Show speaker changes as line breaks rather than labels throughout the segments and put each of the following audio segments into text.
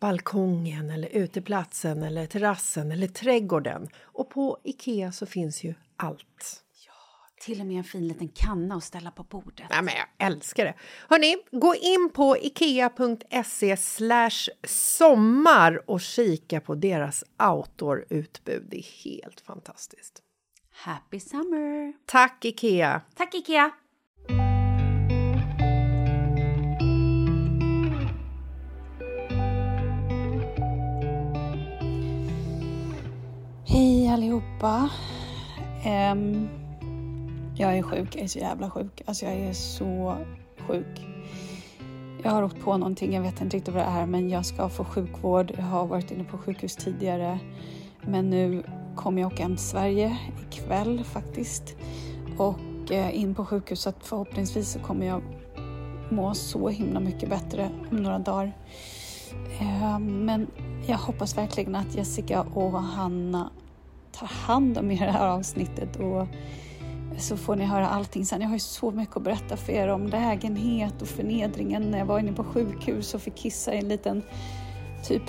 balkongen eller uteplatsen eller terrassen eller trädgården. Och på Ikea så finns ju allt.
Till och med en fin liten kanna att ställa på bordet.
Ja, men jag älskar det. Hörni, gå in på ikea.se sommar och kika på deras outdoor-utbud. Det är helt fantastiskt.
Happy summer!
Tack, Ikea!
Tack Ikea!
Hej allihopa! Ehm, jag är sjuk, jag är så jävla sjuk. Alltså jag är så sjuk. Jag har åkt på någonting, jag vet inte riktigt vad det är men jag ska få sjukvård. Jag har varit inne på sjukhus tidigare men nu kommer jag åka hem till Sverige ikväll faktiskt och eh, in på sjukhuset. Förhoppningsvis så kommer jag må så himla mycket bättre om några dagar. Eh, Men jag hoppas verkligen att Jessica och Hanna tar hand om er i det här avsnittet och så får ni höra allting sen. Jag har ju så mycket att berätta för er om lägenhet och förnedringen när jag var inne på sjukhus och fick kissa i en liten typ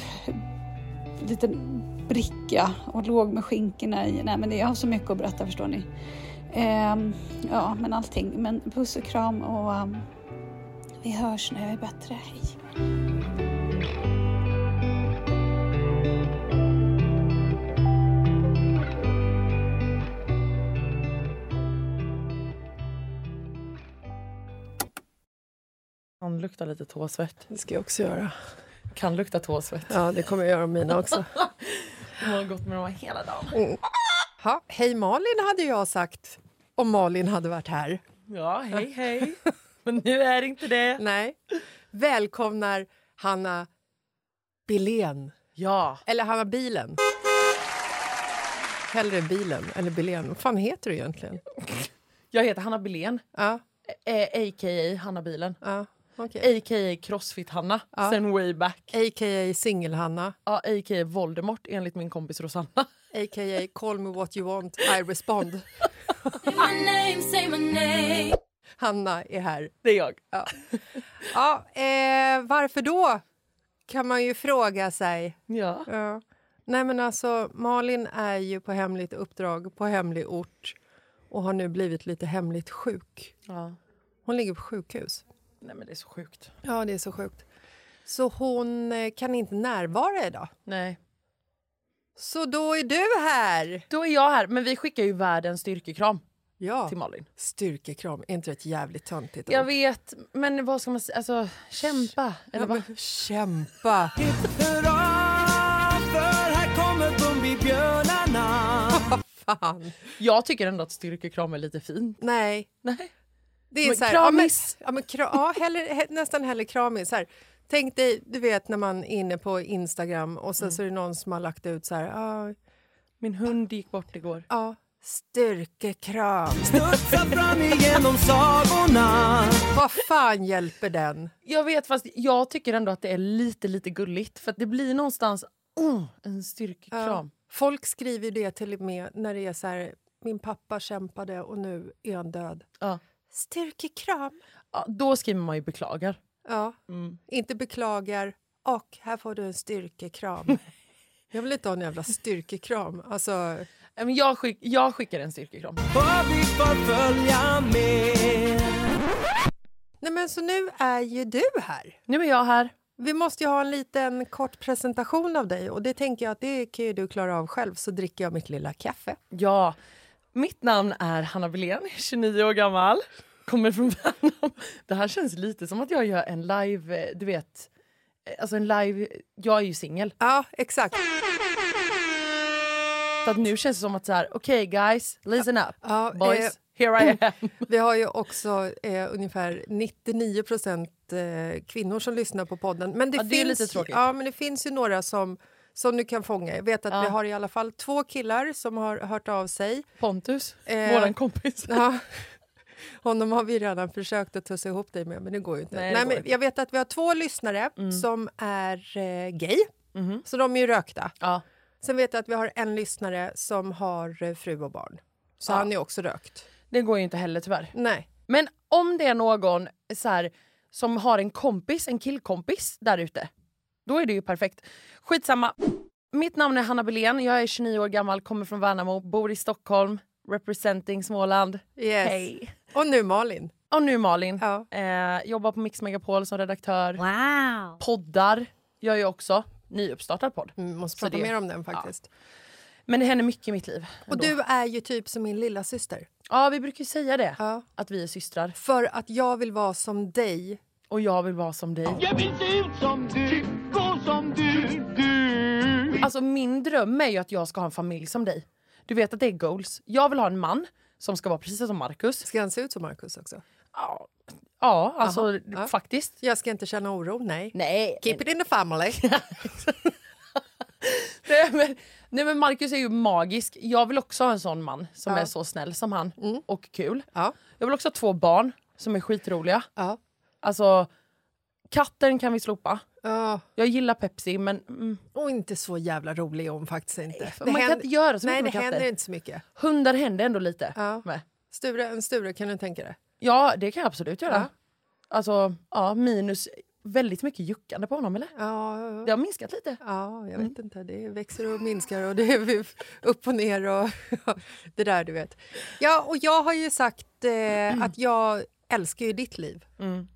liten bricka och låg med skinkorna i. Nej men det- jag har så mycket att berätta förstår ni. Ehm, ja men allting. Men puss och kram och ehm, vi hörs när jag är bättre. Hej!
Kan lukta lite tåsvett.
Det ska jag också göra.
Kan lukta tåsvett.
Ja, det kommer jag göra om mina också.
Jag har gått med dem hela dagen.
Ha, hej Malin hade jag sagt om Malin hade varit här.
Ja, hej hej. Men nu är det inte det.
Nej. Välkomnar Hanna Bilén.
Ja.
Eller Hanna Bilen. Hellre bilen, eller Bilén. Vad fan heter du egentligen?
Jag heter Hanna Billén,
Ja,
eh, a.k.a. Hanna Bilen.
ja. Okej.
A.k.a. Crossfit-Hanna
Ja.
sen way back.
A.k.a. Singel-Hanna,
Ja, A.k.a. Voldemort enligt min kompis Rosanna.
a.k.a. Call me what you want, I respond. Hanna är här.
Det är jag.
Ja, eh, varför då? Kan man ju fråga sig.
Ja.
Ja. Nej men alltså, Malin är ju på hemligt uppdrag på hemlig ort och har nu blivit lite hemligt sjuk.
ja.
Hon ligger på sjukhus.
Nej men det är så sjukt.
Ja, det är så sjukt. Så hon eh, kan inte närvara idag.
Nej.
Så då är du här!
Då är jag här, men vi skickar ju världens styrkekram
Ja,
till Malin.
styrkekram. Är inte det ett jävligt töntigt
Jag
ord?
vet, men vad ska man säga? Alltså, kämpa. Eller
Ja,
vad?
men Kämpa! Fan.
Jag tycker ändå att styrkekram är lite fint.
Nej.
Nej.
Det är
Men
så här,
kramis.
Ja, men, ja, men, kra- ja, hellre, he, nästan hellre kramis. Så här, tänk dig, du vet när man är inne på Instagram och sen
Mm.
så är det någon som har lagt ut så här, ja,
Min hund gick bort igår.
ja, styrkekram. Vad fan hjälper den?
Jag vet, fast jag tycker ändå att det är lite, lite gulligt. För att det blir någonstans oh, en styrkekram.
Folk skriver ju det till och med när det är så här, min pappa kämpade och nu är han död.
Ja.
Styrkekram.
Ja, då skriver man ju beklagar.
Ja,
Mm.
inte beklagar och här får du en styrkekram. Jag vill inte ha en jävla styrkekram. Alltså,
Nej, Men jag, skick, jag skickar en styrkekram.
Nej, men så nu är ju du här.
Nu är jag här.
Vi måste ju ha en liten kort presentation av dig och det tänker jag att det kan ju du klara av själv så dricker jag mitt lilla kaffe.
Ja, mitt namn är Hanna Wilén, 29 år gammal. Kommer från Värnamo. Det här känns lite som att jag gör en live, eh, du vet, eh, alltså en live, jag är ju singel.
Ja, exakt.
Så att nu känns det som att så här, okej guys, listen up.
Ja,
Boys,
eh,
here I am.
Vi har ju också eh, ungefär 99 procent eh, kvinnor som lyssnar på podden. Men det,
Ja, det är
finns,
lite tråkigt.
Ja, men det finns ju några som, som du kan fånga. Jag vet att vi har i alla fall två killar som har hört av sig.
Pontus,
Eh,
våran kompis.
Ja. Honom har vi redan försökt att tussa ihop dig med, men det går ju inte.
Nej, det går
men
inte. Mm.
jag vet att vi har två lyssnare som är eh, gay, så de är ju rökta.
Mm-hmm. Ja.
Sen vet jag att vi har en lyssnare som har eh, fru och barn, så han är också rökt.
Det går ju inte heller tyvärr.
Nej.
Men om det är någon så här, som har en kompis, en killkompis där ute, då är det ju perfekt. Skitsamma. Mitt namn är Hanna Belén, jag är 29 år gammal, kommer från Värnamo, bor i Stockholm, representing Småland.
Yes.
Hej!
Och nu Malin.
Och nu Malin.
Ja.
Eh, jobbar på Mix Megapol som redaktör.
Wow!
Poddar gör jag också. Nyuppstartad podd.
Vi Mm, måste
Så
prata
det-
mer om den faktiskt.
Men det händer mycket i mitt liv.
och
ändå.
du är ju typ som min lilla syster.
Ja, vi brukar ju säga det.
Ja.
Att vi är systrar.
För att jag vill vara som dig.
Och jag vill vara som dig.
Jag vill se ut som du, gå som du, du.
Alltså min dröm är ju att jag ska ha en familj som dig. Du vet att det är goals. Jag vill ha en man som ska vara precis som Marcus.
Ska han se ut som Markus också?
Ja, ja alltså
Aha, ja.
faktiskt.
Jag ska inte känna oro, nej.
Nej.
Keep it in the family.
Nej, men, nej men Marcus är ju magisk. Jag vill också ha en sån man som
Ja. Mm.
är så snäll som han och kul.
ja.
Jag vill också ha två barn som är skitroliga.
Ja.
Alltså katten kan vi slopa.
Ja.
Jag gillar Pepsi men mm,
Och inte så jävla rolig är hon faktiskt inte.
man kan inte göra så
Nej,
mycket
det
med katter.
händer inte så mycket.
hundar händer ändå lite
Ja.
med.
Sture, en Sture, kan du tänka dig?
Ja, det kan jag absolut göra.
Ja.
Alltså, ja, minus väldigt mycket juckande på honom, eller?
Ja,
Det har minskat lite.
ja jag
Mm.
vet inte. Det växer och minskar och det är upp och ner och det där du vet. Ja, och jag har ju sagt eh, att jag älskar ju ditt liv.
Mm.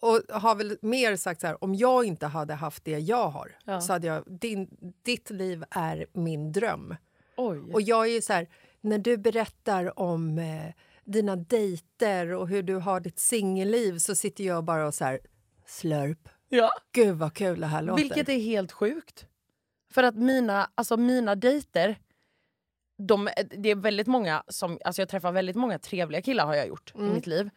Och har väl mer sagt så här, om jag inte hade haft det jag har så hade jag, din, ditt liv är min dröm.
Oj.
Och jag är ju så här, när du berättar om eh, dina dejter och hur du har ditt singelliv så sitter jag bara och så här, slurp.
ja.
Gud vad kul det här låter.
Vilket är helt sjukt. För att mina, alltså mina dejter, de, det är väldigt många som, alltså jag träffar väldigt många trevliga killar har jag gjort i mitt liv.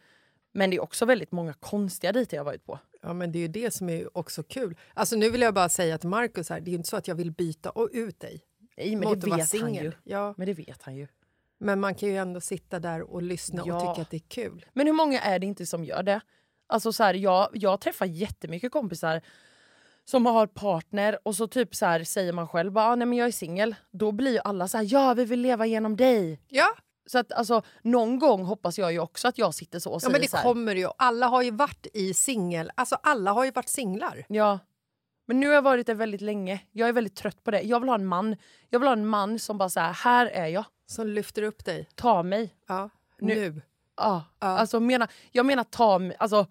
Men det är också väldigt många konstiga dejter jag varit på.
Ja men det är ju det som är också kul. Alltså nu vill jag bara säga till Markus här, det är ju inte så att jag vill byta och ut dig.
Nej, men
mot att
det
vara
vet han
singel.
ju.
Ja,
Men det vet han ju.
men man kan ju ändå sitta där och lyssna
Ja.
och tycka att det är kul.
Men hur många är det inte som gör det? Alltså så här, jag, jag träffar jättemycket kompisar som har partner och så typ så här, säger man själv bara, ah, nej men jag är singel. Då blir ju alla så här, ja vi vill leva genom dig.
Ja,
Så att alltså, någon gång hoppas jag ju också att jag sitter så och
ja
säger
men det
så här.
kommer ju. Alla har ju varit i singel. Alltså alla har ju varit singlar.
Ja. Men nu har jag varit det väldigt länge. Jag är väldigt trött på det. Jag vill ha en man. Jag vill ha en man som bara så här, här är jag.
Som lyfter upp dig.
Ta mig.
Ja, nu.
Nu. Ja. Alltså, mena, jag menar ta mig. Alltså,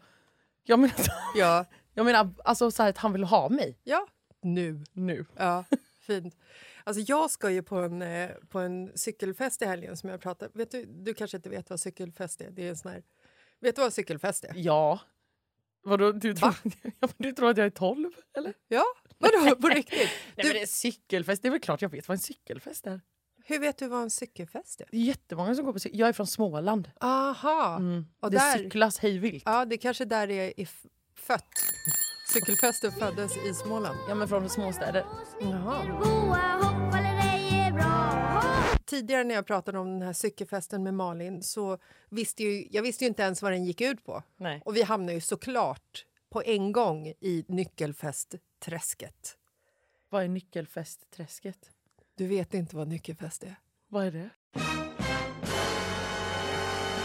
jag menar,
Ja,
jag menar alltså, så här, att han vill ha mig.
ja, nu.
Nu.
Ja, fint. Alltså jag ska ju på en, eh, på en cykelfest i helgen som jag pratade... Vet du, du kanske inte vet vad cykelfest är? Det är en sån här... Vet du vad cykelfest är?
Ja. Vadå, du tror, Ja, men du tror att jag är 12? Eller?
Ja, vadå på riktigt?
Nej, men det är cykelfest. Det är väl klart jag vet vad en cykelfest är.
Hur vet du vad en cykelfest är?
Det är jättemånga som går på cykel. Jag är från Småland.
Aha, och
det
där,
cyklas hej vilt.
ja, det kanske där det är if- fött. Cykelfesten föddes i Småland.
Ja, men från småstäder.
Tidigare när jag pratade om den här cykelfesten med Malin så visste ju, jag visste ju inte ens vad den gick ut på.
Nej.
Och vi hamnade ju såklart på en gång i nyckelfestträsket.
Vad är nyckelfestträsket?
Du vet inte vad nyckelfest är.
Vad är det?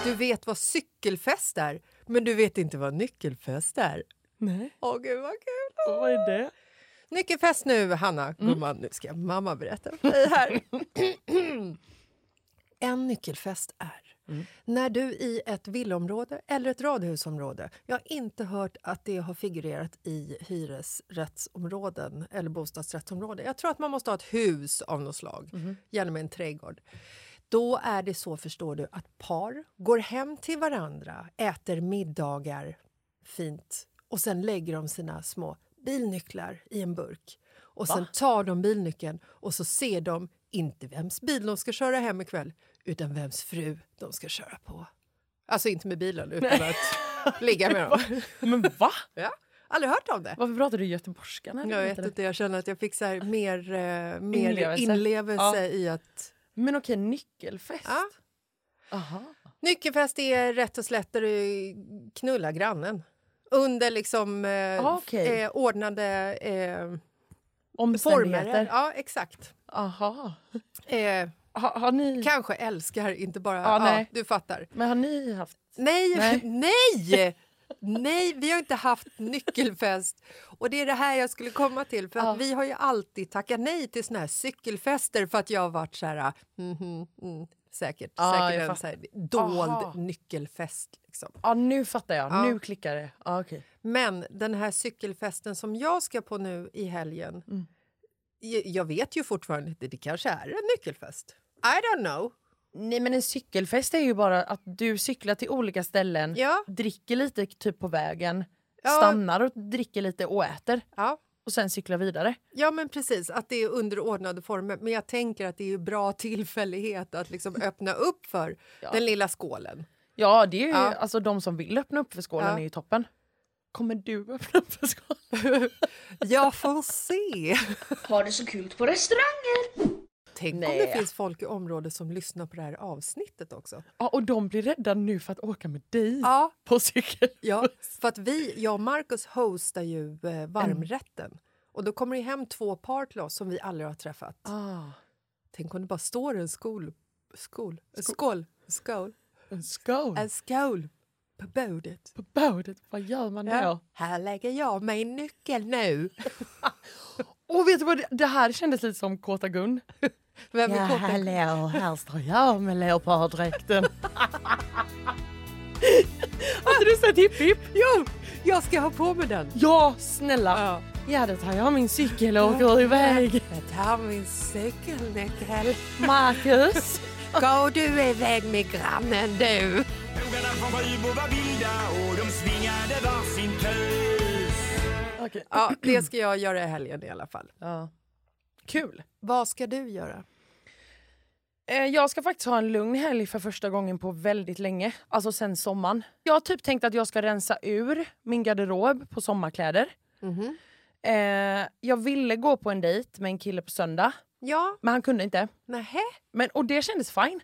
Du vet vad cykelfest är, men du vet inte vad nyckelfest är.
Nej.
Åh, gud vad kul!
Vad är det?
Nyckelfest nu, Hanna. Gumman, nu ska mamma berätta för dig här. en nyckelfest är när du i ett villområde eller ett radhusområde... Jag har inte hört att det har figurerat i hyresrättsområden eller bostadsrättsområden. Jag tror att man måste ha ett hus av något slag, gärna med en trädgård. Då är det så, förstår du, att par går hem till varandra, äter middagar fint och sen lägger de sina små bilnycklar i en burk. Och sen tar de bilnyckeln och så ser de inte vems bil de ska köra hem ikväll utan vems fru de ska köra på. Alltså inte med bilen, utan att ligga med dem.
Men va?
Ja, aldrig hört om det.
Varför pratar du göteborgska? när du
Jag vet
berättar det?
inte, jag känner att jag fick så här mer, eh, mer inlevelse,
Inlevelse. Ja.
i att
Men okej, nyckelfest?
Ja.
Aha.
Nyckelfest är rätt och slätt där du knullar grannen. Under liksom eh,
Ah, okej.
eh, ordnade eh, former.
Omständigheter?
Ja, exakt.
Aha.
Eh,
Ha, har ni...
kanske älskar, inte bara...
Ja,
ja,
nej.
du fattar.
Men har ni haft...
Nej, nej!
Nej.
nej! vi har inte haft nyckelfest. Och det är det här jag skulle komma till. För att Vi har ju alltid tackat nej till såna här cykelfester för att jag har varit så här... mhm, mm, säkert.
Ja,
säkert
jag
en så här, dold
Aha.
nyckelfest. Liksom.
Ja, nu fattar jag.
Ja.
Nu klickar det. Ja, okej.
Men den här cykelfesten som jag ska på nu i helgen...
Mm.
j- Jag vet ju fortfarande inte. Det kanske är en nyckelfest. I don't know.
Nej, men en cykelfest är ju bara att du cyklar till olika ställen,
Ja.
dricker lite typ på vägen,
Ja.
stannar och dricker lite och äter
Ja.
och sen cyklar vidare.
Ja, men precis. Att det är underordnade former. Men jag tänker att det är ju bra tillfällighet att liksom öppna upp för den lilla skålen.
Ja, det är ju,
Ja.
alltså de som vill öppna upp för skålen
Ja.
är ju toppen. Kommer du öppna upp för skålen?
Jag får se.
Har det så kul på restauranger!
Tänk om
Nej.
det finns folk i området som lyssnar på det här avsnittet också.
Ja, och de blir rädda nu för att åka med dig
Ja,
på cykel.
Ja, för att vi, jag och Marcus hostar ju eh, varmrätten. Och då kommer det hem två par till oss som vi aldrig har träffat.
Ah,
Tänk om det bara står en skål, skål, en skål, en skål,
en skål
en skål på bordet.
på bordet. Vad gör man då?
Här lägger jag min nyckel nu.
Och vet du vad, det- det här kändes lite som Kåta Gun.
Vem är kocken?
hallå, här står jag med leoparddräkten. Hade du sett Hipp Hipp? Jo!
Jag ska ha på mig den.
Ja, snälla. Ja. då tar jag min cykel och åker iväg.
Jag tar min cykelnyckel.
Marcus.
Gå du iväg med grannen du.
Krogarna från Sjöbo var vilda och de svingade varsin tös.
Okej.
Ja, det ska jag göra i helgen i alla fall.
Ja. Kul.
Vad ska du göra?
Eh, Jag ska faktiskt ha en lugn helg för första gången på väldigt länge. Alltså sen sommaren. Jag har typ tänkt att jag ska rensa ur min garderob på sommarkläder. Eh, jag ville gå på en dejt med en kille på söndag,
Ja,
men han kunde inte.
nähä?
Men, och det kändes fine.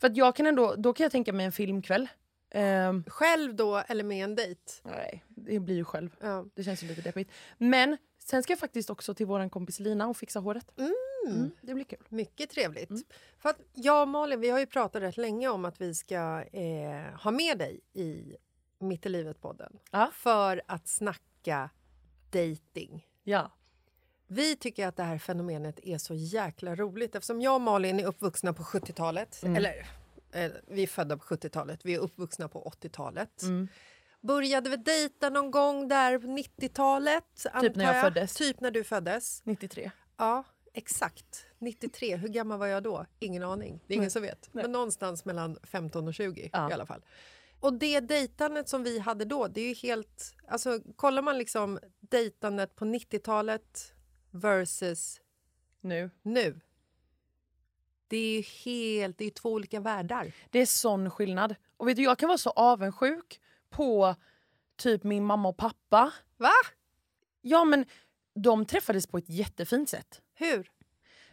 För att jag kan ändå, då kan jag tänka mig en filmkväll. Eh, Ehm,
Själv då eller med en dejt?
nej, det blir ju själv.
Ja.
Det känns ju lite deppigt. Men sen ska jag faktiskt också till vår kompis Lina och fixa håret. Mm, det blir kul.
Mycket trevligt.
Mm.
För att jag och Malin vi har ju pratat rätt länge om att vi ska eh, ha med dig i Mitt i livet-podden
Ja.
för att snacka dating.
Ja.
Vi tycker att det här fenomenet är så jäkla roligt eftersom jag och Malin är uppvuxna på 70-talet.
Mm.
Eller, eh, vi är födda på 70-talet, vi är uppvuxna på 80-talet.
Mm.
Började vi dejta någon gång där på 90-talet? antar
jag föddes.
Typ när du föddes.
93.
Ja, exakt. 93. Hur gammal var jag då? Ingen aning. Det är ingen som vet. Men någonstans mellan 15 och 20 i alla fall. Och det dejtandet som vi hade då, det är ju helt... Alltså, kollar man liksom dejtandet på 90-talet versus
Nu.
nu. Det är ju helt... Det är ju två olika världar.
Det är sån skillnad. Och vet du, jag kan vara så avundsjuk på typ min mamma och pappa.
Va?
Ja men de träffades på ett jättefint sätt.
Hur?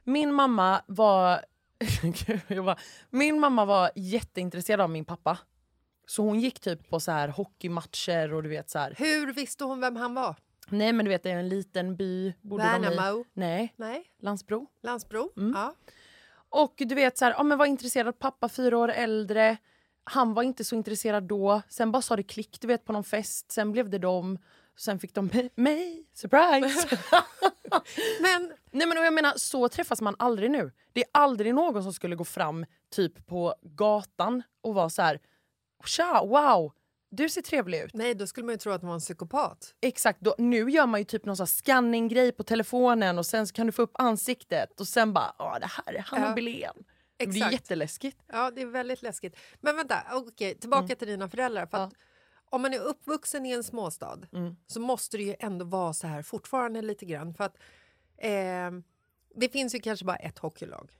Min mamma var... Gud, jag bara, min mamma var jätteintresserad av min pappa. Så hon gick typ på så här hockeymatcher och du vet så här.
Hur visste hon vem han var?
Nej men du vet det är en liten by. Bodde De i.
Värnamo?
Nej,
Nej,
Landsbro.
Landsbro? Ja.
Och du vet så här, ja, men var intresserad av pappa fyra år äldre. Han var inte så intresserad då. Sen bara sa det klick du vet på någon fest. Sen blev det dem. Sen fick de mig- mig. Surprise!
Men
Nej men och jag menar så träffas man aldrig nu. Det är aldrig någon som skulle gå fram typ på gatan och vara så här Tja, wow, du ser trevlig ut.
nej, då skulle man ju tro att hon var en psykopat.
Exakt, då, nu gör man ju typ någon sån här scanning-grej på telefonen och sen så kan du få upp ansiktet och sen bara, ja det här är Hanna
Ja.
Billén. Det är
Exakt.
jätteläskigt.
Ja, det är väldigt läskigt. Men vänta, okej, tillbaka
Mm.
till dina föräldrar. För att Om man är uppvuxen i en småstad
Mm.
så måste det ju ändå vara så här fortfarande lite grann. För att, eh, det finns ju kanske bara ett hockeylag.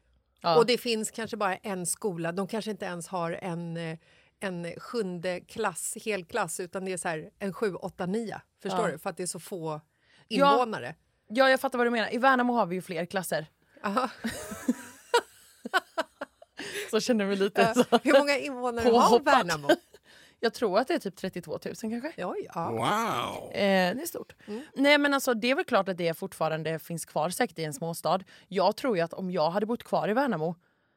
Och det finns kanske bara en skola. De kanske inte ens har en, eh, en sjunde klass, helklass, utan det är så här en sju, åtta, nia. Förstår du? För att det är så få invånare.
Ja jag fattar vad du menar, i Värnamo har vi ju fler klasser.
Aha.
Så känner vi lite så.
Hur många invånare har
Påhoppat.
Värnamo?
Jag tror att det är typ 32 000 kanske.
Oj, ja. Mm.
Eh, det är stort. Nej men alltså det är väl klart att det fortfarande finns kvar säkert i en småstad. Jag tror ju att om jag hade bott kvar i Värnamo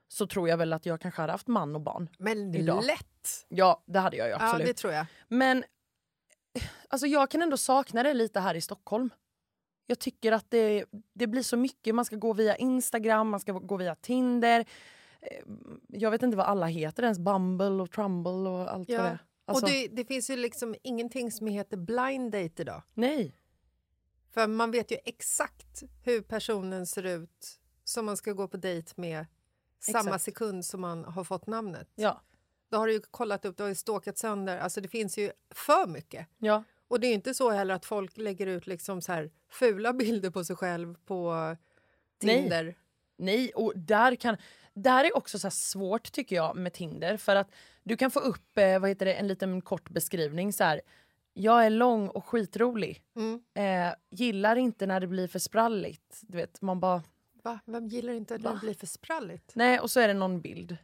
så tror jag väl att jag kanske hade haft man och barn.
Men
Idag.
lätt!
Ja det hade jag ju
Ja,
absolut.
det tror jag.
Men alltså jag kan ändå sakna det lite här i Stockholm. Jag tycker att det, det blir så mycket. Man ska gå via Instagram, man ska gå via Tinder. Eh, Jag vet inte vad alla heter ens. Bumble och Trumble och allt vad det är. Alltså,
och det, det finns ju liksom ingenting som heter blind date idag.
Nej.
För man vet ju exakt hur personen ser ut som man ska gå på dejt med samma
Exakt.
sekund som man har fått namnet.
Ja.
Då har du ju kollat upp, du har ju stalkat sönder. Alltså det finns ju för mycket.
ja.
Och det är ju inte så heller att folk lägger ut liksom så här fula bilder på sig själv på
Nej.
Tinder.
Nej, och där kan... Där är också så här svårt tycker jag med Tinder för att du kan få upp eh, vad heter det, en liten kort beskrivning så här. Jag är lång och skitrolig. Eh, gillar inte när det blir för spralligt. Du vet, man bara
Va? Vem gillar inte att det blir för spralligt?
nej och så är det någon bild.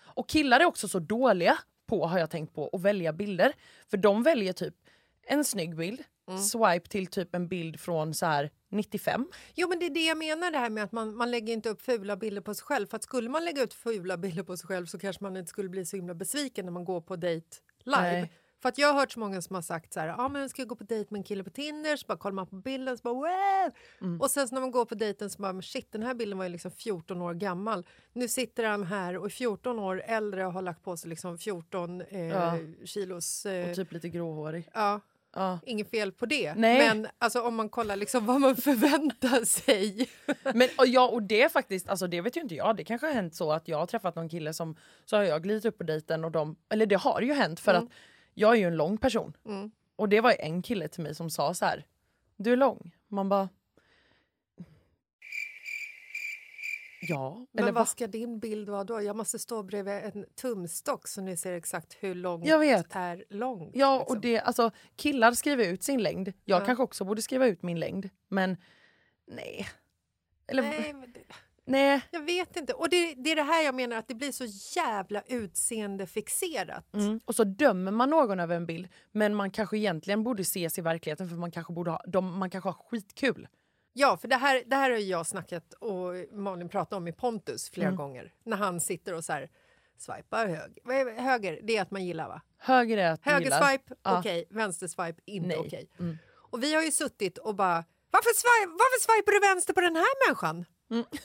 Och killar är också så dåliga på har jag tänkt på att välja bilder. För de väljer typ en snygg bild, swipe till typ en bild från så här 95.
Jo, men det är det jag menar det här med att man, man lägger inte upp fula bilder på sig själv. För att skulle man lägga ut fula bilder på sig själv så kanske man inte skulle bli så himla besviken när man går på dejt live.
Nej.
För att jag har hört så många som har sagt så här, ja ah, men ska jag gå på dejt med en kille på Tinder? Så bara kollar man på bilden så bara wow!
Mm.
Och sen så när man går på dejten så bara, men shit den här bilden var ju liksom 14 år gammal. Nu sitter han här och är 14 år äldre och har lagt på sig liksom 14 eh, kilos... Eh,
Och typ lite gråhårig.
ja.
Ja.
Inget fel på det,
Nej.
men alltså, om man kollar liksom vad man förväntar sig.
Men och ja, och det är faktiskt, alltså det vet ju inte jag. Det kanske har hänt så att jag har träffat någon kille som så har jag glidit upp på dejten och de, eller det har ju hänt
Mm.
för att jag är ju en lång person. Och det var ju en kille till mig som sa så här, du är lång. Man bara, ja,
Men
eller
vad
vad?
ska din bild vara då? Jag måste stå bredvid en tumstock så ni ser exakt hur långt
Jag vet.
är långt.
Ja,
liksom.
och det, alltså killar skriver ut sin längd. Jag kanske också borde skriva ut min längd, men nej. Eller,
Nej, men det...
Nej.
Jag vet inte. Och det, det är det här jag menar, att det blir så jävla utseendefixerat.
Mm. Och så dömer man någon över en bild men man kanske egentligen borde ses i verkligheten för man kanske, borde ha, de, man kanske har skitkul.
Ja, för det här, det här har ju jag snackat och Malin pratat om i Pontus
Mm.
flera gånger. När han sitter och så här swipar höger. Vad är- Höger, det är att man gillar va?
Höger är att ni
Höger
gillar.
swipe,
Ja.
okej. Vänster swipe, inte
Nej. Mm.
okej. Och vi har ju suttit och bara, varför, swipe, varför swipar du vänster på den här människan?
Mm.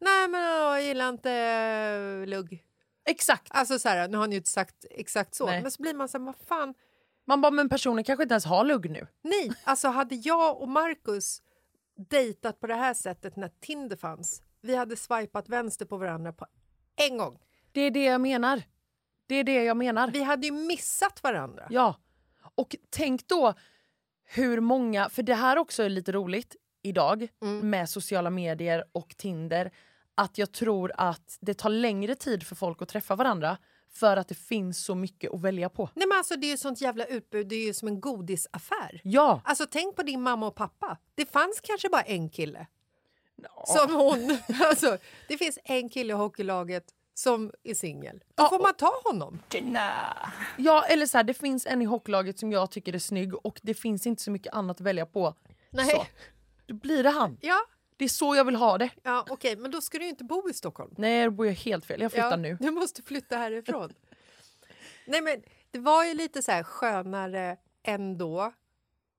Nej men åh, jag gillar inte eh, lugg.
Exakt.
Alltså så här, nu har han ju inte sagt exakt så,
Nej.
men så blir man så här, vad fan.
Man bara, men personen kanske inte ens har lugg nu.
Nej, alltså hade jag och Marcus dejtat på det här sättet när Tinder fanns, vi hade swipat vänster på varandra på en gång.
Det är det jag menar. Det är det jag menar.
Vi hade ju missat varandra.
Ja. Och tänk då hur många, för det här också är lite roligt idag
Mm.
med sociala medier och Tinder, att jag tror att det tar längre tid för folk att träffa varandra för att det finns så mycket att välja på.
Nej men alltså det är ju sånt jävla utbud, det är ju som en godisaffär.
Ja!
Alltså tänk på din mamma och pappa. Det fanns kanske bara en kille. Som hon. Alltså, det finns en kille i hockeylaget som är singel. Då får man ta honom.
Ja, eller så här, det finns en i hockeylaget som jag tycker är snygg och det finns inte så mycket annat att välja på.
Nej.
Så, då blir det han.
Ja,
Det är så jag vill ha det.
ja okej, men då ska du ju inte bo i Stockholm.
Nej, då bor jag helt fel. Jag flyttar
ja,
nu.
Du måste flytta härifrån. Nej, men det var ju lite så här skönare ändå,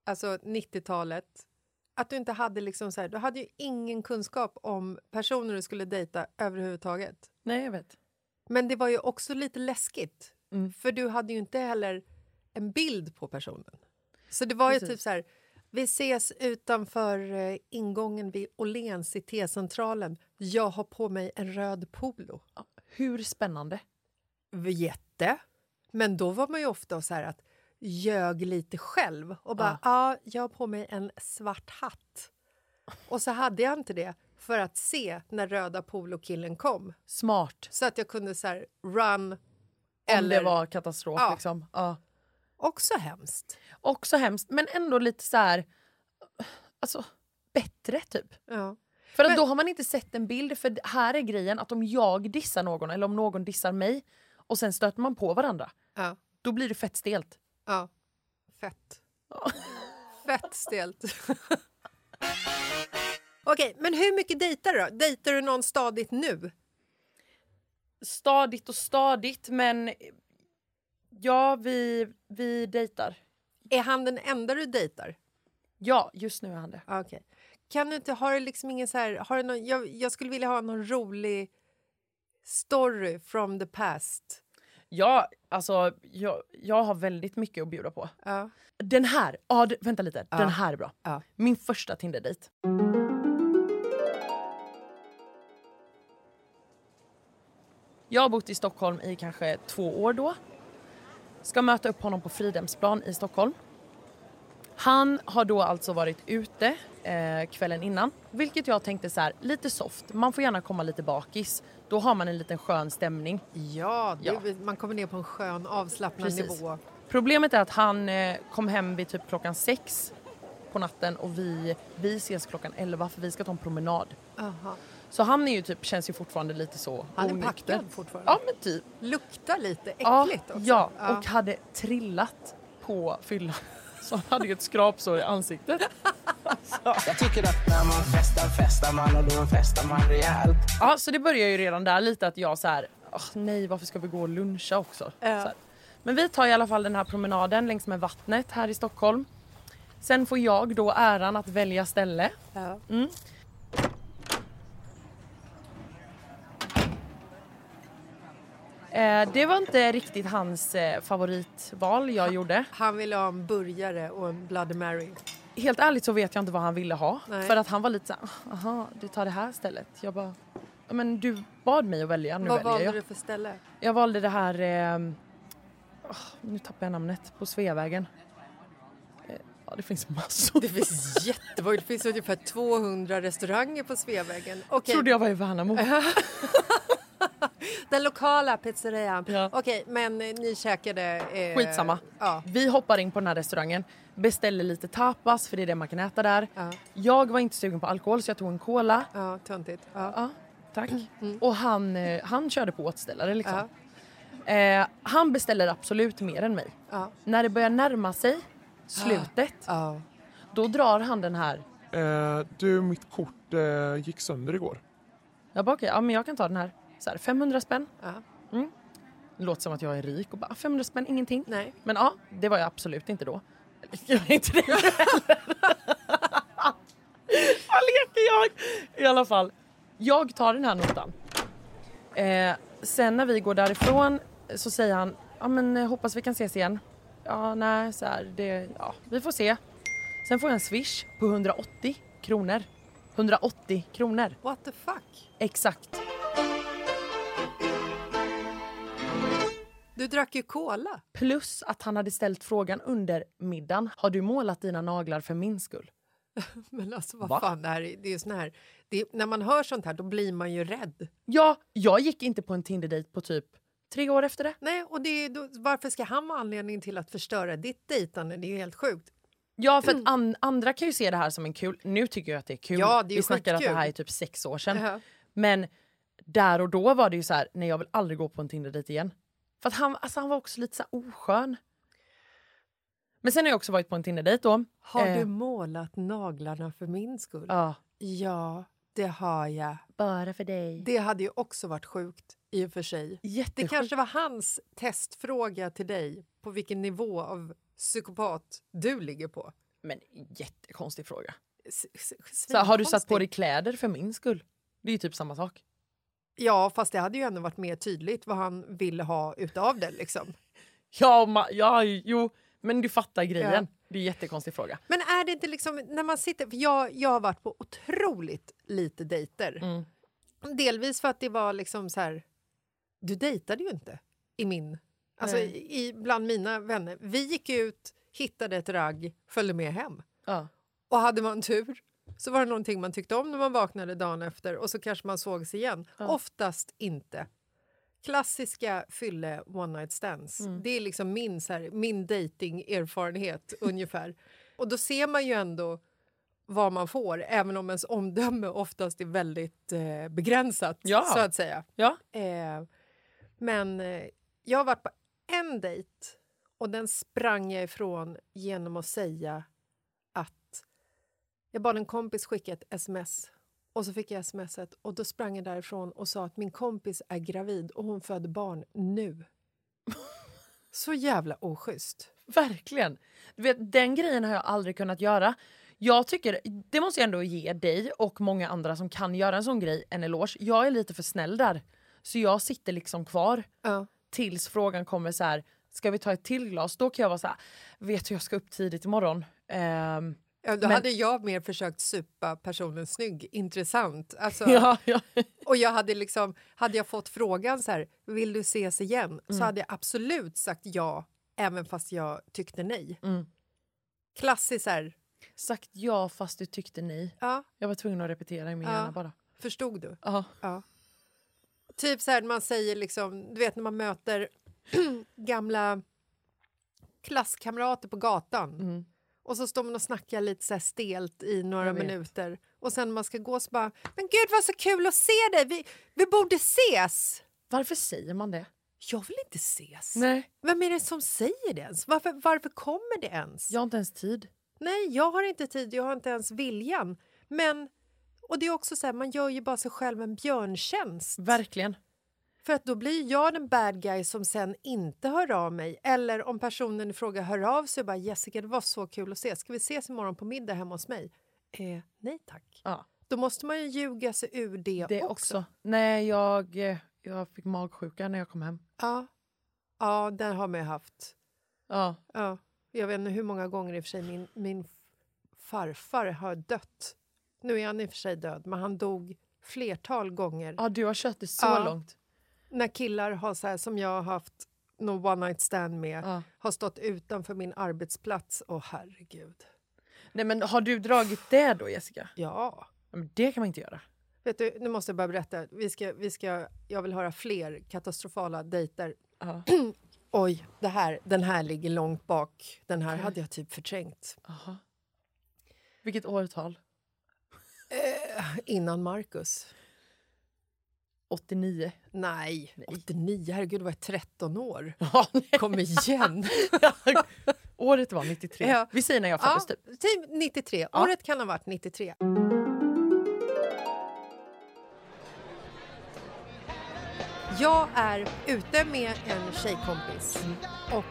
alltså 90-talet. Att du inte hade liksom så här, du hade ju ingen kunskap om personer du skulle dejta överhuvudtaget.
Nej, jag vet.
Men det var ju också lite läskigt, för du hade ju inte heller en bild på personen. Så det var ju typ så här, vi ses utanför eh, ingången vid Åhléns i T-centralen. Jag har på mig en röd polo.
Hur spännande?
jätte. Men då var man ju ofta så här att ljög lite själv och bara ja, jag har på mig en svart hatt. Och så hade jag inte det för att se när röda polokillen kom
Smart.
så att jag kunde så här run
Eller
eller
det var katastrof.
Ja.
Liksom. Ja.
också hemskt.
Också hemskt, men ändå lite så här... Alltså, bättre, typ.
Ja.
För att
Men-
då har man inte sett en bild. För här är grejen att om jag dissar någon eller om någon dissar mig och sen stöter man på varandra,
Ja,
då blir det fett stelt.
ja. Fett. Fett stelt. Okej, men hur mycket dejtar du då? Dejtar du någon stadigt nu?
stadigt och stadigt men ja, vi, vi dejtar.
Är han den enda du dejtar?
Ja, just nu är han det.
Ja, Ah, Okej. Kan du inte, har du liksom ingen så här, har du någon, jag, jag skulle vilja ha någon rolig story from the past.
Ja, alltså jag, jag har väldigt mycket att bjuda på.
Ja.
Den här, ja, d- vänta lite, den här är bra.
Ja.
Min första Tinder-dejt. Jag har bott i Stockholm i kanske två år då. Ska möta upp honom på Fridhemsplan i Stockholm. Han har då alltså varit ute eh, kvällen innan, vilket jag tänkte så här, lite soft. Man får gärna komma lite bakis. Då har man en liten skön stämning.
Ja, det,
Ja.
man kommer ner på en skön avslappnad
Precis.
nivå.
Problemet är att han eh, kom hem vid typ klockan sex på natten och vi, vi ses klockan elva för vi ska ta en promenad.
Aha.
Så han är ju typ, känns ju fortfarande lite så
Han är
onykter.
packad fortfarande.
Ja men typ.
Luktar lite äckligt
Ja,
också.
ja, och hade trillat på fyllan. Så han hade ju ett skrapsår i ansiktet.
Alltså. Jag tycker att när man festar, festar man och då festar man rejält.
Ja, så det börjar ju redan där lite att jag så här, "Åh, nej varför ska vi gå och luncha också? Så här. Men vi tar i alla fall den här promenaden längs med vattnet här i Stockholm. Sen får jag då äran att välja ställe.
Ja.
Eh, det var inte riktigt hans eh, favoritval jag gjorde.
Han ville ha en burgare och en Bloody Mary.
Helt ärligt så vet jag inte vad han ville ha.
Nej.
För att han var lite så här, "Ah, aha du tar det här stället. Jag bara, "Ja, men du bad mig att välja, nu
Vad
väljer
valde
jag.
du för ställe?
Jag valde det här... ehm, åh, nu tappar jag namnet. På Sveavägen. Eh, ja, det finns massor.
Det finns jättemånga, det finns ungefär 200 restauranger på Sveavägen. Okej,
trodde jag var i Värnamo.
den lokala pizzerian.
Ja.
Okej, men eh, ni käkade... Eh,
Skitsamma.
Ja.
Vi hoppar in på den här restaurangen, beställer lite tapas för det är det man kan äta där.
Ja.
Jag var inte sugen på alkohol så jag tog en cola.
Ja, töntigt. Ja.
Ja. Tack. Och han, eh, han körde på återställare liksom. Eh, han beställer absolut mer än mig.
Ja.
När det börjar närma sig slutet, då drar han den här.
Ah. Eh, du, mitt kort eh, gick sönder igår.
Jag bara okej, ja men jag kan ta den här. Så här 500 spänn. Mm. Det låter som att jag är rik och bara 500 spänn, ingenting.
Nej.
Men ja, det var jag absolut inte då. Jag är inte det heller. Vad leker jag? I alla fall, jag tar den här notan. Eh, sen när vi går därifrån så säger han, ja men eh, hoppas vi kan ses igen. Ja, nej, så här, det, ja, vi får se. Sen får jag en swish på 180 kronor. 180 kronor.
What the fuck?
Exakt.
Du drack ju cola.
Plus att han hade ställt frågan under middagen. Har du målat dina naglar för min skull?
Men alltså vad
Va?
fan, det här är, det är ju sån här... Det är, när man hör sånt här då blir man ju rädd.
Ja, jag gick inte på en Tinder-dejt på typ tre år efter det.
Nej, och det är, då, varför ska han vara anledningen till att förstöra ditt dejtande? Det är ju helt sjukt.
Ja, för att an- andra kan ju se det här som en kul... Nu tycker jag att det är kul.
Ja, det är ju
Vi snackar att det
skitkul.
här är typ sex år sedan.
Jaha.
Men där och då var det ju så här, nej jag vill aldrig gå på en Tinder-dejt igen. För att han, alltså, han var också lite så här oskön. Men sen har jag också varit på en Tinder-dejt då.
Har
Eh,
du målat naglarna för min skull?
Ja.
Ja, det har jag.
Bara för dig.
Det hade ju också varit sjukt i och för sig. Det
Jättesjukt.
kanske var hans testfråga till dig på vilken nivå av psykopat du ligger på.
Men jättekonstig fråga.
S- s-
Så här, har du satt
svinkonstigt.
på dig kläder för min skull? Det är ju typ samma sak.
Ja, fast det hade ju ändå varit mer tydligt vad han ville ha utav det. Liksom.
Ja, ma- ja jo, men du fattar grejen.
Ja.
Det är en jättekonstig fråga.
Men är det inte liksom, när man sitter... För jag, jag har varit på otroligt lite dejter. Delvis för att det var liksom så här... Du dejtade ju inte i min... Alltså
Nej.
i, bland mina vänner. Vi gick ut, hittade ett ragg, följde med hem.
Ja.
Och hade man tur så var det någonting man tyckte om när man vaknade dagen efter och så kanske man sågs igen. Oftast inte. Klassiska fylle one night stands. Det är liksom min, så här, min dating-erfarenhet ungefär. Och då ser man ju ändå vad man får, även om ens omdöme oftast är väldigt eh, begränsat,
Ja.
så att säga.
Ja.
Eh, men eh, jag har varit på en dejt och den sprang jag ifrån genom att säga att jag bad en kompis skicka ett sms och så fick jag smset och då sprang jag därifrån och sa att min kompis är gravid och hon föder barn nu. Så jävla oschysst.
Verkligen. Du vet, den grejen har jag aldrig kunnat göra. Jag tycker, Det måste jag ändå ge dig och många andra som kan göra en sån grej en eloge. Jag är lite för snäll där. Så jag sitter liksom kvar
Ja.
tills frågan kommer så här, ska vi ta ett till glas? Då kan jag vara så här, vet du jag ska upp tidigt imorgon. Ehm,
Ja, Då
Men-
hade jag mer försökt supa personen snygg, intressant. Alltså,
ja, ja.
Och jag hade liksom, hade jag fått frågan så här, vill du ses igen?
Mm.
Så hade jag absolut sagt ja, även fast jag tyckte nej.
Mm.
Klassiskt så här,
Sagt ja fast du tyckte nej.
ja,
Jag var tvungen att repetera i min
Ja.
hjärna bara.
förstod du?
Ja.
Ja. Typ så här när man säger liksom, du vet när man möter gamla klasskamrater på gatan. Och så står man och snackar lite så här stelt i några
Mm. Jag vet.
minuter. Och sen när man ska gå så bara, men gud vad så kul att se dig, vi, vi borde ses!
Varför säger man det?
Jag vill inte ses.
Nej.
Vem är det som säger det ens? Varför, varför kommer det ens?
Jag har inte ens tid.
Nej, jag har inte tid, jag har inte ens viljan. Men, och det är också så här, man gör ju bara sig själv en björntjänst.
Verkligen.
För att då blir jag den bad guy som sen inte hör av mig. Eller om personen i fråga hör av sig och bara “Jessica, det var så kul att ses. Ska vi ses imorgon på middag hemma hos mig?” eh, Nej tack.
Ja.
Då måste man ju ljuga sig ur det,
Det också.
också.
Nej, jag, eh, jag fick magsjuka när jag kom hem.
Ja. ja, den har man ju haft.
Ja.
Ja. Jag vet inte hur många gånger i och för sig min, min farfar har dött. Nu är han i och för sig död, men han dog flertal gånger.
Ja, du har kört det så
Ja.
långt.
när killar har så här, som jag har haft någon one night stand med
Ja.
har stått utanför min arbetsplats. Åh herregud.
Nej, men har du dragit det då, Jessica?
Ja.
Ja, Men det kan man inte göra.
Vet du, nu måste jag bara berätta. Vi ska, vi ska, jag vill höra fler katastrofala dejter.
Ja.
Oj, det här, den här ligger långt bak. Den här hade jag typ förträngt.
Aha. Vilket årtal?
eh, Innan Marcus.
89.
Nej, 89, herregud, var jag 13 år. Kom igen!
Året var 93.
Ja.
Vi säger när jag föddes typ.
typ 93. Året kan ha varit 93. Jag är ute med en tjejkompis och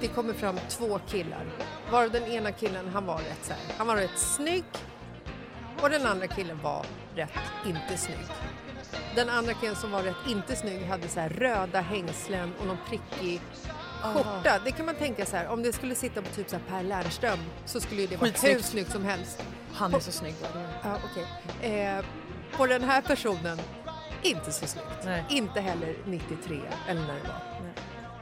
det kommer fram två killar. Varav den ena killen, han var rätt så här. Han var rätt snygg och den andra killen var rätt inte snygg. Den andra killen som var rätt inte snygg hade så här röda hängslen och någon prickig skjorta. Det kan man tänka så här, om det skulle sitta på typ så här Per Lernström så skulle ju det vara hur
Skitsnyggt.
snyggt som helst.
Han är så snygg.
Ja, okej. Eh, på den här personen, inte så snyggt. Inte heller 93 eller när det var.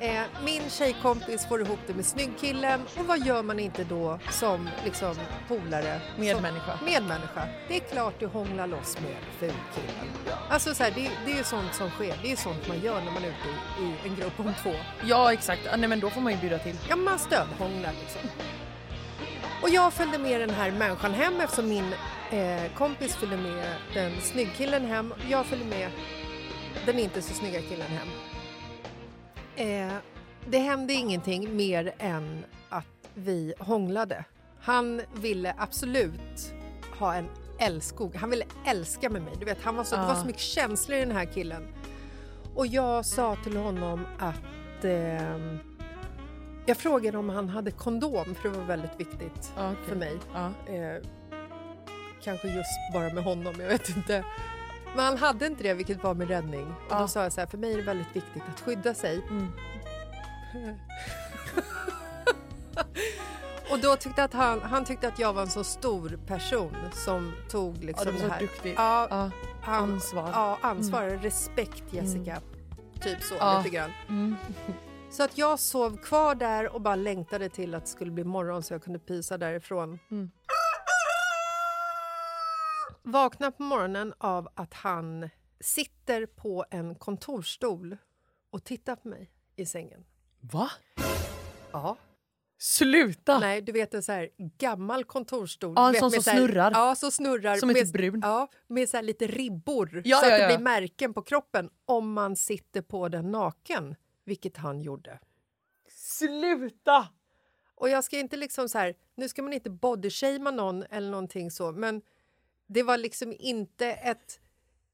Eh, min tjejkompis får ihop det med snyggkillen och vad gör man inte då som liksom polare?
Medmänniska.
Som, medmänniska. Det är klart du hånglar loss med fulkillen. Alltså så här, det, det är ju sånt som sker. Det är ju sånt man gör när man är ute i, i en grupp om två.
Ja exakt, Ja, nej men då får man ju bjuda till.
Ja, man stödhånglar liksom. Och jag följde med den här människan hem eftersom min eh, kompis följde med den snyggkillen hem. Jag följde med den inte så snygga killen hem. Eh, det hände ingenting mer än att vi hånglade. Han ville absolut ha en älskog. Han ville älska med mig. Du vet, han var så, Det var
Ja.
så mycket känslor i den här killen. Och jag sa till honom att... ehm, jag frågade om han hade kondom, för det var väldigt viktigt för mig. Eh, kanske just bara med honom, jag vet inte. Men han hade inte det, vilket var min räddning. Och Då sa jag så här, för mig är det väldigt viktigt att skydda sig.
Mm.
Och då tyckte att han, han tyckte att jag var en så stor person som tog liksom
du var så
det här.
duktig.
Ja,
Ja.
han-
Ansvar. Mm.
Ja, ansvar. Respekt Jessica. Typ så
Ja. Mm.
lite grann. Så att jag sov kvar där och bara längtade till att det skulle bli morgon så jag kunde pysa därifrån.
Mm.
Vaknar på morgonen av att han sitter på en kontorstol och tittar på mig i sängen.
Va?
Ja.
Sluta!
Nej, du vet en så här gammal kontorstol.
Ja, en
Du vet,
sån
med
som
så här-
snurrar.
Ja, som snurrar.
Som är
med,
typ brun.
Ja, med så här lite ribbor
Ja,
så
ja,
att det
ja.
blir märken på kroppen om man sitter på den naken, vilket han gjorde.
Sluta!
Och jag ska inte liksom så här, nu ska man inte bodyshamea någon eller någonting så, men det var liksom inte ett,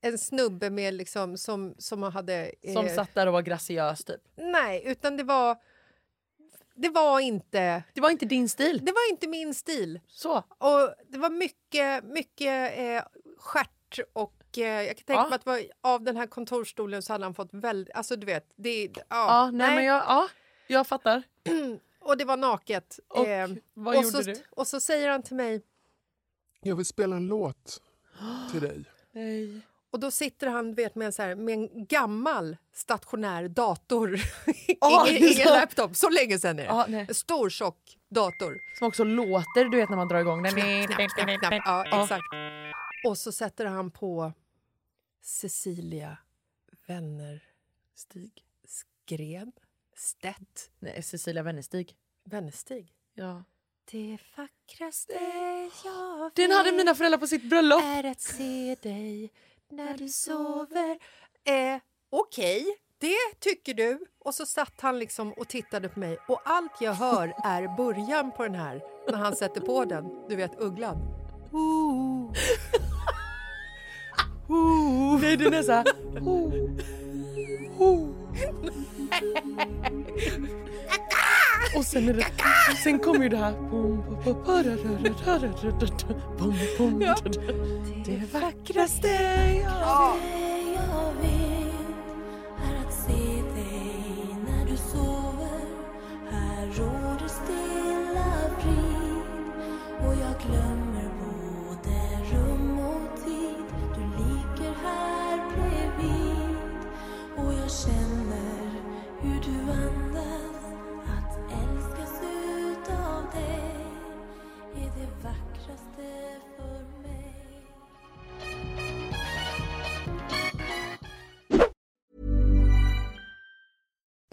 en snubbe med liksom som, som hade...
Som
eh,
satt där och var graciös typ.
Nej, utan det var... Det var inte...
Det var inte din stil.
Det var inte min stil.
Så.
Och det var mycket, mycket eh, stjärt och eh, jag kan tänka
Ja.
mig att det var, av den här kontorstolen så hade han fått väldigt... Alltså du vet, det... Ja,
Ja, nej, men jag, ja, jag fattar.
Och det var naket.
Ehm, Och
Eh,
vad
och
gjorde
så,
du?
Och så säger han till mig,
Jag vill spela en låt till dig.
Nej.
och då sitter han du vet, med, en så här, med en gammal stationär dator.
Ah,
ingen, ingen
så-
laptop, så länge sedan är det.
Ja, nej.
En stor tjock dator.
Som också låter, du vet när man drar igång den.
Knapp, knapp, knapp. Ja, exakt. Och så sätter han på Cecilia Vänner
Stig.
Gren Stedt
Nej, Cecilia Wennerstig.
Wennerstig.
Ja.
Det vackraste jag
Den hade mina föräldrar på sitt bröllop.
är att se dig när du sover. Eh, Okej, det tycker du. Och så satt han liksom och tittade på mig och allt jag hör är början på den här när han sätter på den. Du vet ugglan. Ooh. Ooh.
Nej, den är så här... Och sen, är det, sen kommer ju det här...
Ja.
Det vackraste jag...
Ja.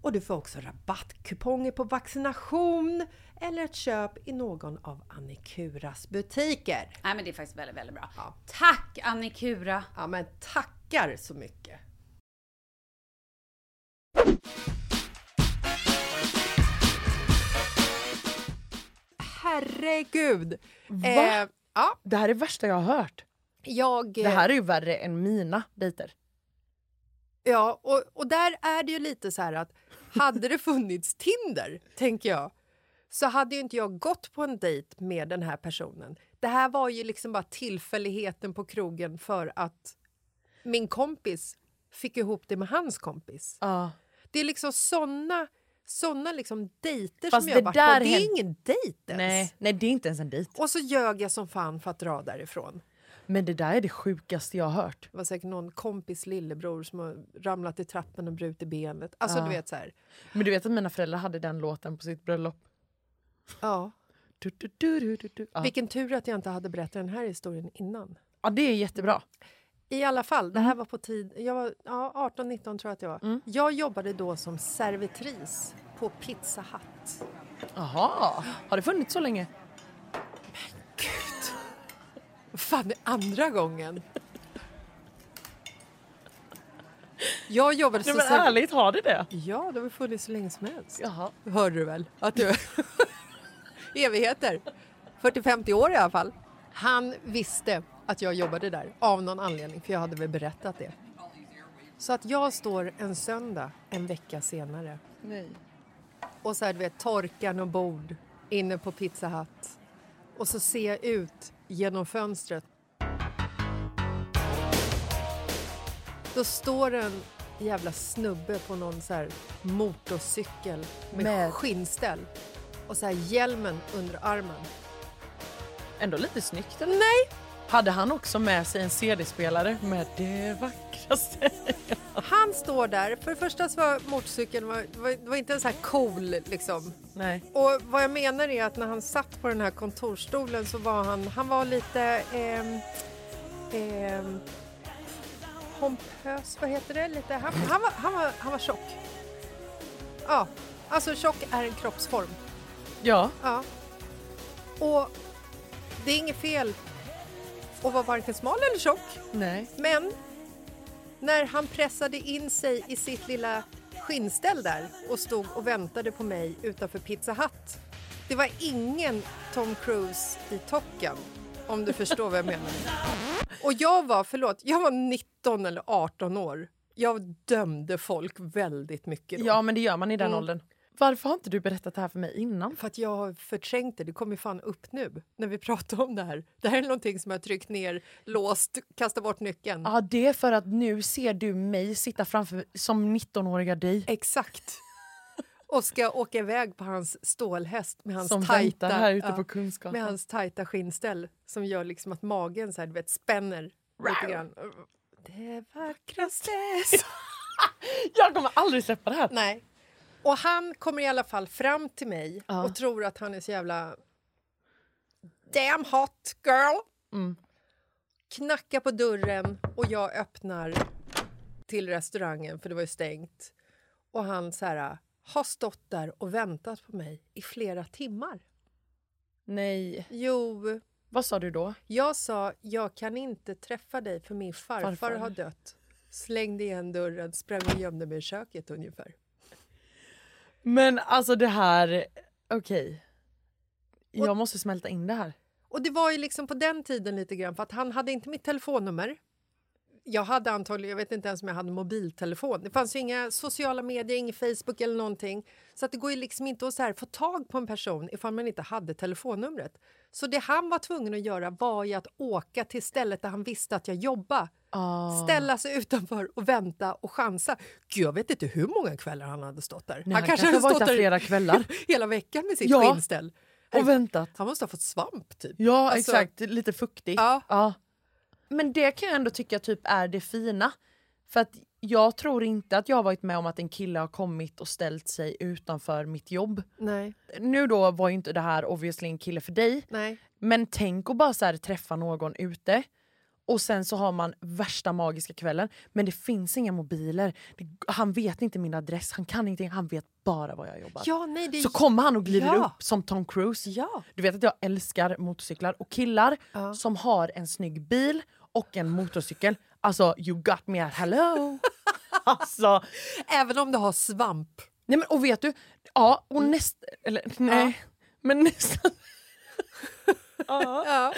och du får också rabattkuponger på vaccination eller ett köp i någon av Annikuras butiker.
Nej men det är faktiskt väldigt, väldigt bra. Tack Annikura!
Ja men tackar så mycket! Herregud!
Va?
Eh, ja.
Det här är det värsta jag har hört.
Jag,
Det här är ju värre än mina dejter.
Ja, och, och där är det ju lite så här att hade det funnits Tinder, tänker jag, så hade ju inte jag gått på en dejt med den här personen. Det här var ju liksom bara tillfälligheten på krogen för att min kompis fick ihop det med hans kompis. Det är liksom såna, såna liksom dejter
Fast
som jag har
det
varit
där
på. Det är
hän-
ingen dejt ens.
Nej, nej, det är inte ens en dejt.
Och så ljög jag som fan för att dra därifrån.
Men det där är det sjukaste jag har hört.
Det var säkert någon kompis lillebror som har ramlat i trappen och brutit benet. Alltså
Ja.
du vet så här.
Men du vet att mina föräldrar hade den låten på sitt bröllop?
Ja.
Du, du, du, du, du, du. Ja.
Vilken tur att jag inte hade berättat den här historien innan.
ja, det är jättebra.
I alla fall, det
Mm.
här var på tid... Jag var ja, 18-19 tror jag att jag var. Jag jobbade då som servitris på Pizza Hut.
Jaha, har det funnits så länge?
Fan, det är andra gången! Jag jobbade
Nej,
som
men
serv-
ärligt, har det det?
Ja, det har väl funnits så länge som helst.
Jaha.
Hörde du väl? Att du... Evigheter. 40-50 år i alla fall. Han visste att jag jobbade där av någon anledning, för jag hade väl berättat det. Så att jag står en söndag en vecka senare
Nej.
och så här, du vet, torkar och bord inne på Pizza Hut. Och så ser jag ut genom fönstret. Då står en jävla snubbe på någon så här motorcykel med,
Med-
skinnställ och så här hjälmen under armen.
Ändå lite snyggt eller? Nej! Hade han också med sig en CD-spelare med det vackraste?
Han står där. För det första så var motorcykeln var, var, det var inte en så här cool liksom.
Nej.
Och vad jag menar är att när han satt på den här kontorsstolen så var han, han var lite ehm, ehm, pompös, vad heter det? Lite, han, han, var, han, var, han var tjock. Ja, alltså tjock är en kroppsform.
Ja.
Ja. Och det är inget fel att vara varken smal eller tjock.
Nej.
Men när han pressade in sig i sitt lilla skinnställ där och stod och väntade på mig utanför Pizza Hut. Det var ingen Tom Cruise i Top Gun, om du förstår vad jag menar. Och jag var, förlåt, jag var 19 eller 18 år. Jag dömde folk väldigt mycket då.
Ja men det gör man i den
Mm.
åldern. Varför har inte du berättat det här för mig innan?
För att jag har förträngt det. Det kommer ju fan upp nu när vi pratar om det här. Det här är någonting som jag har tryckt ner, låst, kastat bort nyckeln.
Ja det är för att nu ser du mig sitta framför som 19-åriga dig.
Exakt. och ska åka iväg på hans stålhäst med hans
Som
tajta,
väntar här ute
ja,
på Kungsgatan.
Med hans tajta skinnställ som gör liksom att magen så här, du vet, spänner lite grann. Det vackraste
Jag kommer aldrig släppa det här.
Nej. Och han kommer i alla fall fram till mig och tror att han är så jävla damn hot girl. Knackar på dörren och jag öppnar till restaurangen för det var ju stängt. Och han så här, har stått där och väntat på mig i flera timmar.
Nej.
Jo,
Vad sa du då?
jag sa jag kan inte träffa dig för min farfar,
Farfar.
har dött. Slängde igen dörren, sprang och gömde mig i köket ungefär.
Men alltså det här, okej. Jag måste smälta in det här.
Och det var ju liksom på den tiden lite grann för att han hade inte mitt telefonnummer. Jag hade antagligen, jag vet inte ens om jag hade mobiltelefon. Det fanns ju inga sociala medier, ingen Facebook eller någonting. Så att det går ju liksom inte att så här få tag på en person ifall man inte hade telefonnumret. Så det han var tvungen att göra var ju att åka till stället där han visste att jag jobbade.
Ah.
Ställa sig utanför och vänta och chansa. Gud, jag vet inte hur många kvällar han hade stått där.
han kanske har varit där flera kvällar.
hela veckan med sitt
Ja.
skinnställ.
Och väntat.
Han måste ha fått svamp typ.
Ja,
Alltså-
exakt. Lite fuktigt.
Ja.
Men det kan jag ändå tycka typ är det fina. För att jag tror inte att jag har varit med om att en kille har kommit och ställt sig utanför mitt jobb.
Nej.
Nu då var ju inte det här obviously en kille för dig.
Nej.
Men tänk att bara så här träffa någon ute och sen så har man värsta magiska kvällen men det finns inga mobiler. Det, han vet inte min adress, han kan ingenting, han vet bara var jag jobbar.
Ja, nej, det är
Så
ju-
kommer han och glider
Ja.
upp som Tom Cruise. Du vet att jag älskar motorcyklar och killar som har en snygg bil och en motorcykel. Alltså you got me at hello! alltså,
Även om du har svamp.
nej men och vet du, ja
Mm.
och nästa, eller nej, men nästa
Ja.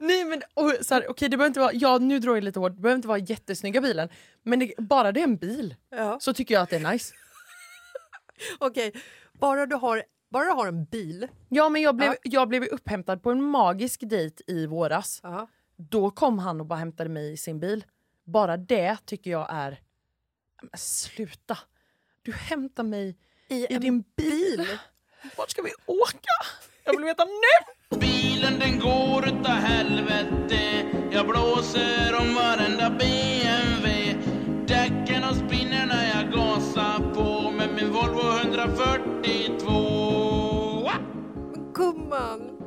Nej men och, så här, okej, det behöver inte vara, ja nu drar jag lite hårt, det behöver inte vara jättesnygga bilen. Men det, bara det är en bil
Ja.
så tycker jag att det är nice.
Okej, bara du har, bara du har en bil.
Ja men jag blev, jag blev ju upphämtad på en magisk dejt i våras.
Ja.
Då kom han och bara hämtade mig i sin bil. Bara det tycker jag är... Men sluta! Du hämtar mig i,
en
din bil. Vart ska vi åka? Jag vill veta nu!
Bilen den går utav helvete Jag blåser om varenda BMW Däcken och spinner när jag gasar på med min Volvo 142
Gumman!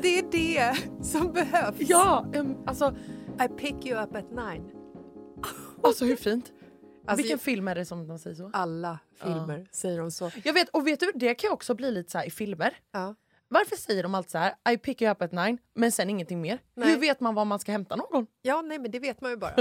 det är det som behövs.
Ja, em, alltså...
I pick you up at nine.
Alltså hur fint?
Alltså,
Vilken
jag-
film är det som de säger så?
Alla filmer säger de så.
Jag vet, och vet du, det kan ju också bli lite så här i filmer. Varför säger de alltid så här, I pick you up at nine, men sen ingenting mer? Hur vet man var man ska hämta någon?
Ja, nej men det vet man ju bara.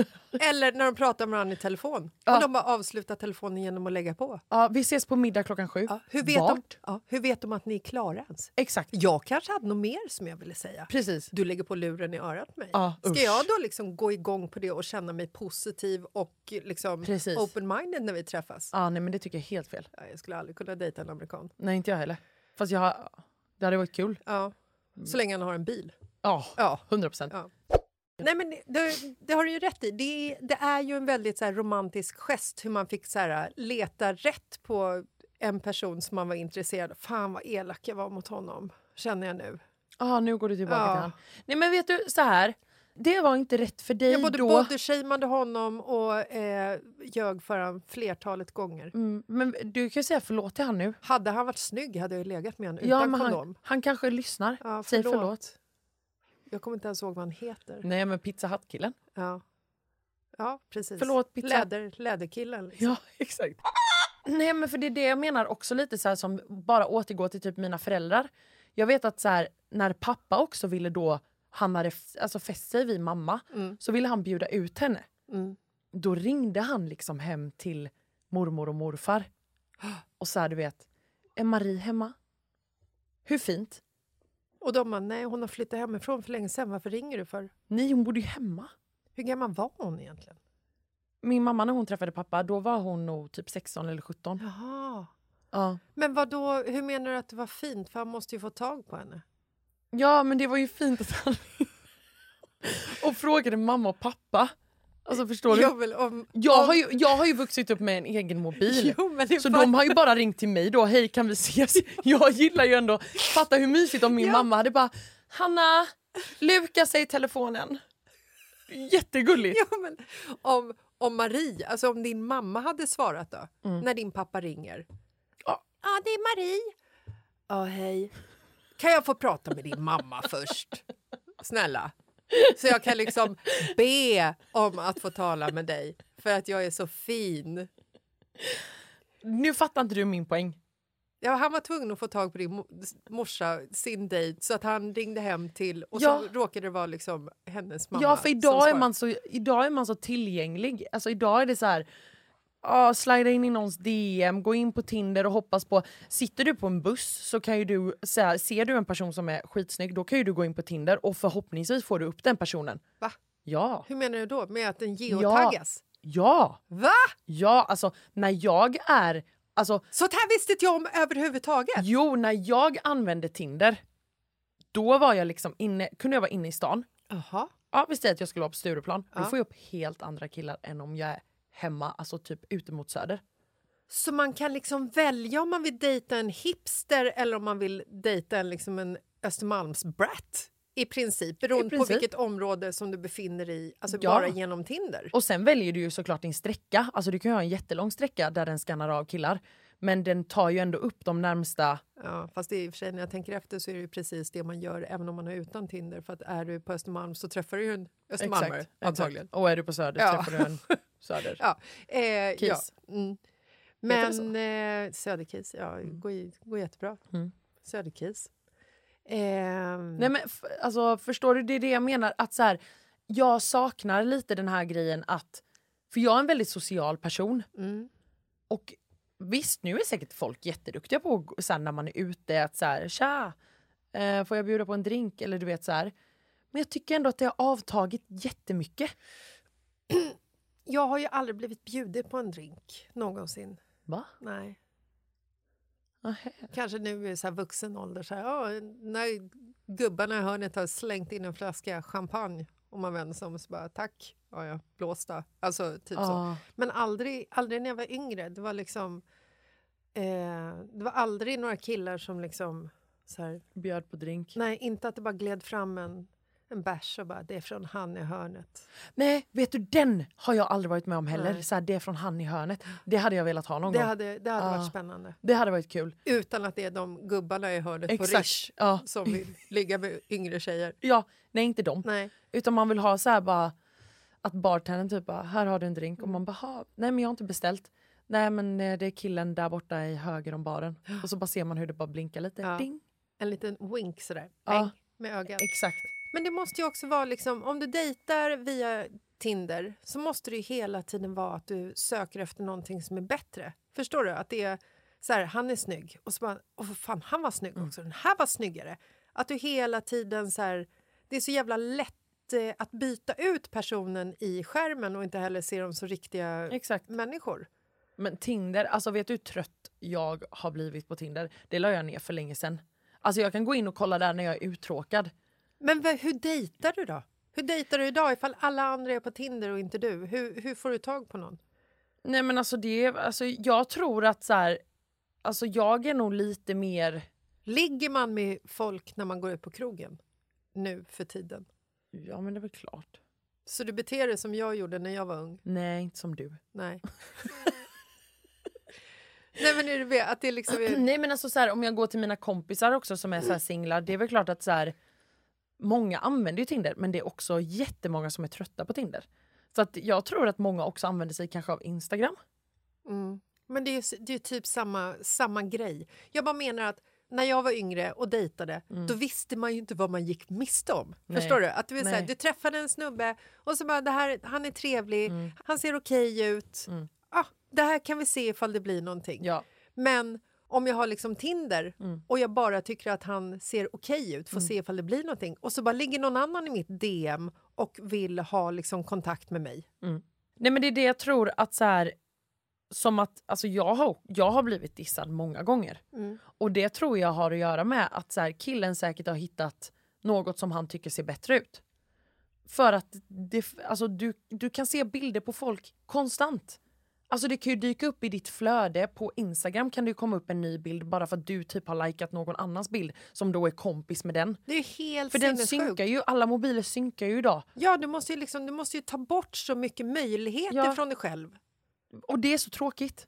Eller när de pratar med varandra i telefon. Och de bara avslutar telefonen genom att lägga på.
Ja, vi ses på middag klockan sju.
Hur vet, de,
Vart?
ja, hur vet de att ni är klara ens?
Exakt.
Jag kanske hade något mer som jag ville säga.
Precis.
Du lägger på luren i örat på mig.
Ja,
Ska
usch.
jag då liksom gå igång på det och känna mig positiv och liksom
Precis.
open-minded när vi träffas?
Ja, nej men det tycker jag är helt fel.
Ja, Jag skulle aldrig kunna dejta en amerikan.
Nej, inte jag heller. Fast jag har... Det hade varit kul.
Ja.
Mm.
Så länge han har en bil.
Ja,
Ja.
100 procent.
Nej, men det, det har du ju rätt i. Det, är- det är ju en väldigt så här, romantisk gest hur man fick så här, leta rätt på en person som man var intresserad av. Fan vad elak jag var mot honom, känner jag nu.
Ja, nu går du tillbaka
Ja.
till han. Nej men vet du, så här. Det var inte rätt för dig
Jag både
då.
bodyshameade honom och eh, ljög för honom flertalet gånger.
Mm, men du kan ju säga förlåt till han nu.
Hade han varit snygg hade jag ju legat med honom
Ja,
utan
men han,
kondom.
han kanske lyssnar.
Ja,
Säg
förlåt.
förlåt.
Jag kommer inte ens ihåg vad han heter.
Nej men pizza Hut-killen.
Ja. ja, precis.
Förlåt, pizza.
Läder, läderkillen. Liksom.
Ja, exakt. Nej, men för det är det jag menar också lite så här som bara återgår till typ mina föräldrar. Jag vet att så här, när pappa också ville då, han hade f- alltså fäst sig vid mamma, så ville han bjuda ut henne.
Mm.
Då ringde han liksom hem till mormor och morfar. Och så här, du vet, är Marie hemma? Hur fint?
Och de bara, nej hon har flyttat hemifrån för länge sedan, varför ringer du för?
Nej, hon bodde ju hemma.
Hur gammal var hon egentligen?
Min mamma när hon träffade pappa, då var hon nog typ 16 eller 17.
Jaha.
Ja.
Men vad då? hur menar du att det var fint? För han måste ju få tag på henne.
Ja, men det var ju fint att han... och frågade mamma och pappa. Alltså förstår du?
Jag vill, om,
Jag
om,
har, ju, jag har ju vuxit upp med en egen mobil.
Jo, men det
så
var-
de har ju bara ringt till mig då. Hej kan vi ses? Jag gillar ju ändå, fatta hur mysigt om min mamma hade bara Hanna, luka sig i telefonen. Jättegulligt.
Ja, men, om, om Marie, alltså om din mamma hade svarat då,
Mm.
när din pappa ringer. Ja, det är Marie. Ja, hej. Kan jag få prata med din mamma först? Snälla. Så jag kan liksom be om att få tala med dig för att jag är så fin.
Nu fattar inte du min poäng.
Ja, han var tvungen att få tag på din mo- morsa, sin dejt, så att han ringde hem till och
Ja.
så råkade det vara liksom hennes mamma.
ja, för
som
idag är,
svarade.
man så, idag är man så tillgänglig. Alltså idag är det så här, ja, slida in i någons DM, gå in på Tinder och hoppas på... Sitter du på en buss så kan ju du, så här, ser du en person som är skitsnygg, då kan ju du gå in på Tinder och förhoppningsvis får du upp den personen.
Va?
Ja.
Hur menar du då? Med att den geotaggas?
Ja.
Va?
Ja, alltså när jag är... Alltså,
Sånt här visste inte jag om överhuvudtaget.
jo, när jag använde Tinder, då var jag liksom inne, kunde jag vara inne i stan.
Jaha.
Ja, vi säger att jag skulle vara på Stureplan. Då
Ja.
får jag upp helt andra killar än om jag är hemma, alltså typ ute mot Söder.
Så man kan liksom välja om man vill dejta en hipster eller om man vill dejta en, liksom en Östermalmsbrat i princip, beroende på
princip.
vilket område som du befinner dig i, alltså
Ja.
bara genom Tinder.
Och sen väljer du ju såklart din sträcka. Alltså du kan ju ha en jättelång sträcka där den skannar av killar. Men den tar ju ändå upp de närmsta...
Ja, fast det är i och för sig, när jag tänker efter så är det ju precis det man gör även om man är utan Tinder. För att är du på Östermalm så träffar du ju en östermalmare
Exakt,
antagligen.
Exakt. Och är du på Söder
Ja.
träffar du en Söder.
Ja, eh, ja.
Kis.
Mm.
Heter Mm. det
Men eh, Söderkis, ja, går, ju- går jättebra. Söderkis. Eh,
Mm. Nej men f- alltså förstår du, det är det jag menar. Att så här, jag saknar lite den här grejen att... För jag är en väldigt social person.
Mm.
Och visst, nu är säkert folk jätteduktiga på att gå- så här, när man är ute att så här, tja, eh, får jag bjuda på en drink? Eller du vet så här. Men jag tycker ändå att det har avtagit jättemycket.
Jag har ju aldrig blivit bjuden på en drink någonsin.
Va?
Nej.
Nähä.
Kanske nu i så här vuxen ålder, så här, ja, när gubbarna i hörnet har slängt in en flaska champagne och man vänder sig om och så bara tack, ja, ja, blåsta. Alltså typ
Ah.
så. Men aldrig, aldrig när jag var yngre. Det var liksom... Eh, det var aldrig några killar som liksom Så här.
Bjöd på drink.
Nej, inte att det bara gled fram en, en bärs och bara det är från han i hörnet.
Nej, vet du den har jag aldrig varit med om heller.
Nej.
Så här, det är från han i hörnet. Det hade jag velat ha någon
Det
gång. Ah.
hade, det hade
Ja.
varit spännande.
Det hade varit kul.
Utan att det är de gubbarna i hörnet på
Exakt,
Rish
ja.
som vill ligga med yngre tjejer.
Ja, nej inte dem.
Nej.
Utan man vill ha så här bara att bartendern typ bara, här har du en drink och man bara, "Ha, nej men jag har inte beställt. Nej men eh, det är killen där borta i höger om baren. Och så bara ser man hur det bara blinkar lite.
Ja.
Ding.
En liten wink sådär.
Ja.
Bäng, Med ögat.
Exakt.
Men det måste ju också vara liksom, om du dejtar via Tinder så måste det ju hela tiden vara att du söker efter någonting som är bättre. Förstår du? Att det är så här, han är snygg och så bara, åh för fan, han var snygg
Mm.
också, den här var snyggare. Att du hela tiden så här, det är så jävla lätt eh, att byta ut personen i skärmen och inte heller se dem som riktiga
Exakt.
människor.
Men Tinder, alltså vet du hur trött jag har blivit på Tinder? Det la jag ner för länge sedan. Alltså jag kan gå in och kolla där när jag är uttråkad.
Men v- hur dejtar du då? Hur dejtar du idag ifall alla andra är på Tinder och inte du? Hur, hur får du tag på någon?
Nej men alltså det, alltså jag tror att så här, alltså jag är nog lite mer
Ligger man med folk när man går ut på krogen nu för tiden?
Ja, men det är väl klart.
Så du beter dig som jag gjorde när jag var ung?
Nej, inte som du.
Nej. Nej, men är du med? Att det liksom är...
Nej men alltså så här, om jag går till mina kompisar också som är så här singlar, det är väl klart att så här, många använder ju Tinder men det är också jättemånga som är trötta på Tinder. Så att jag tror att många också använder sig kanske av Instagram.
Mm. Men det är ju s- det är ju typ samma, samma grej. Jag bara menar att när jag var yngre och dejtade, då visste man ju inte vad man gick miste om.
Mm. Nej.
Förstår du? Att du, är så här,
Nej.
du träffade en snubbe och så bara, det här, han är trevlig,
Mm.
han ser okej ut. Ah, det här kan vi se ifall det blir någonting.
Ja. Mm.
Men om jag har liksom Tinder och jag bara tycker att han ser okej ut, får se ifall det blir någonting. Och så bara ligger någon annan i mitt DM och vill ha liksom kontakt med mig.
Nej men det är det jag tror att så här, som att alltså jag har, jag har blivit dissad många gånger. Och det tror jag har att göra med att så här, killen säkert har hittat något som han tycker ser bättre ut. För att det, alltså, du, du kan se bilder på folk konstant. Alltså det kan ju dyka upp i ditt flöde, på Instagram kan det ju komma upp en ny bild bara för att du typ har likat någon annans bild som då är kompis med den.
Det är ju helt
För den
sinnessjukt.
synkar ju, alla mobiler synkar ju idag.
Ja, du måste, ju liksom, du måste ju ta bort så mycket möjligheter
Ja.
från dig själv.
Och det är så tråkigt.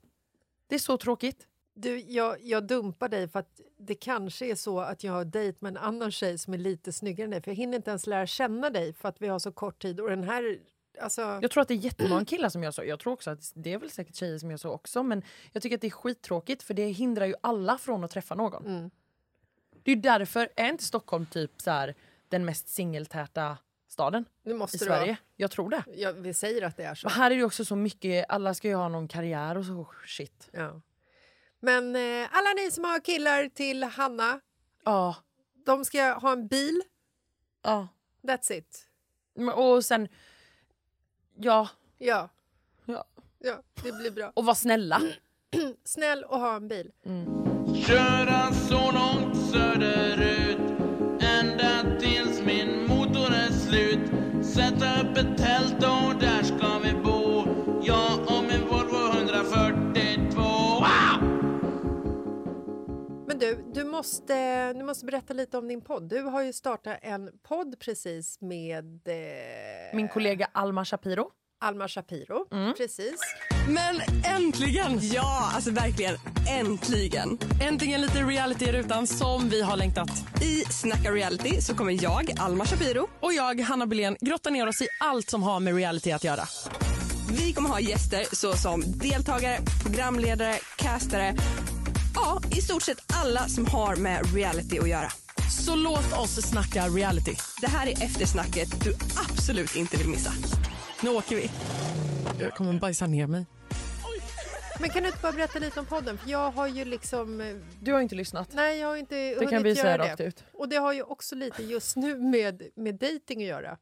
Det är så tråkigt.
Du, jag, jag dumpar dig för att det kanske är så att jag har dejt med en annan tjej som är lite snyggare än dig, för jag hinner inte ens lära känna dig för att vi har så kort tid. Och den här, alltså,
Jag tror att det är jättemånga killar som gör så. Jag tror också att det är väl säkert tjejer som gör så också. Men jag tycker att det är skittråkigt för det hindrar ju alla från att träffa någon. Det är ju därför, är inte Stockholm typ så här, den mest singeltäta staden
nu måste
i
det vara-
Sverige? Jag tror det.
Ja, vi säger att det är så.
Och här är det ju också så mycket, alla ska ju ha någon karriär och så oh, shit.
Ja. Men eh, alla ni som har killar till Hanna,
Ja.
de ska ha en bil.
ja.
That's it.
Men- Och sen, ja.
Ja,
ja.
ja det blir bra.
Och var snälla.
Snäll och ha en bil.
Köra så långt söderut Ända tills min motor är slut Sätta upp ett tält och där ska vi bo Jag och min Volvo 142 wow!
Men du, du måste, du måste berätta lite om din podd. Du har ju startat en podd precis med eh,
Min Mm. kollega Alma Shapiro.
Alma Shapiro. Precis.
Men äntligen! Ja, alltså verkligen äntligen. Äntligen lite reality i rutan som vi har längtat. I Snacka reality så kommer jag, Alma Shapiro och jag, Hanna Billén, grotta ner oss i allt som har med reality att göra. Vi kommer ha gäster såsom deltagare, programledare, castare. Ja, i stort sett alla som har med reality att göra. Så låt oss snacka reality. Det här är eftersnacket du absolut inte vill missa. Nu åker vi. Jag kommer bajsa ner mig.
Men kan du inte bara berätta lite om podden? För jag har ju liksom... eh,
Du har ju inte lyssnat.
Nej, jag har inte
Det kan vi säga rakt ut.
Och det har ju också lite just nu med, med dating att göra,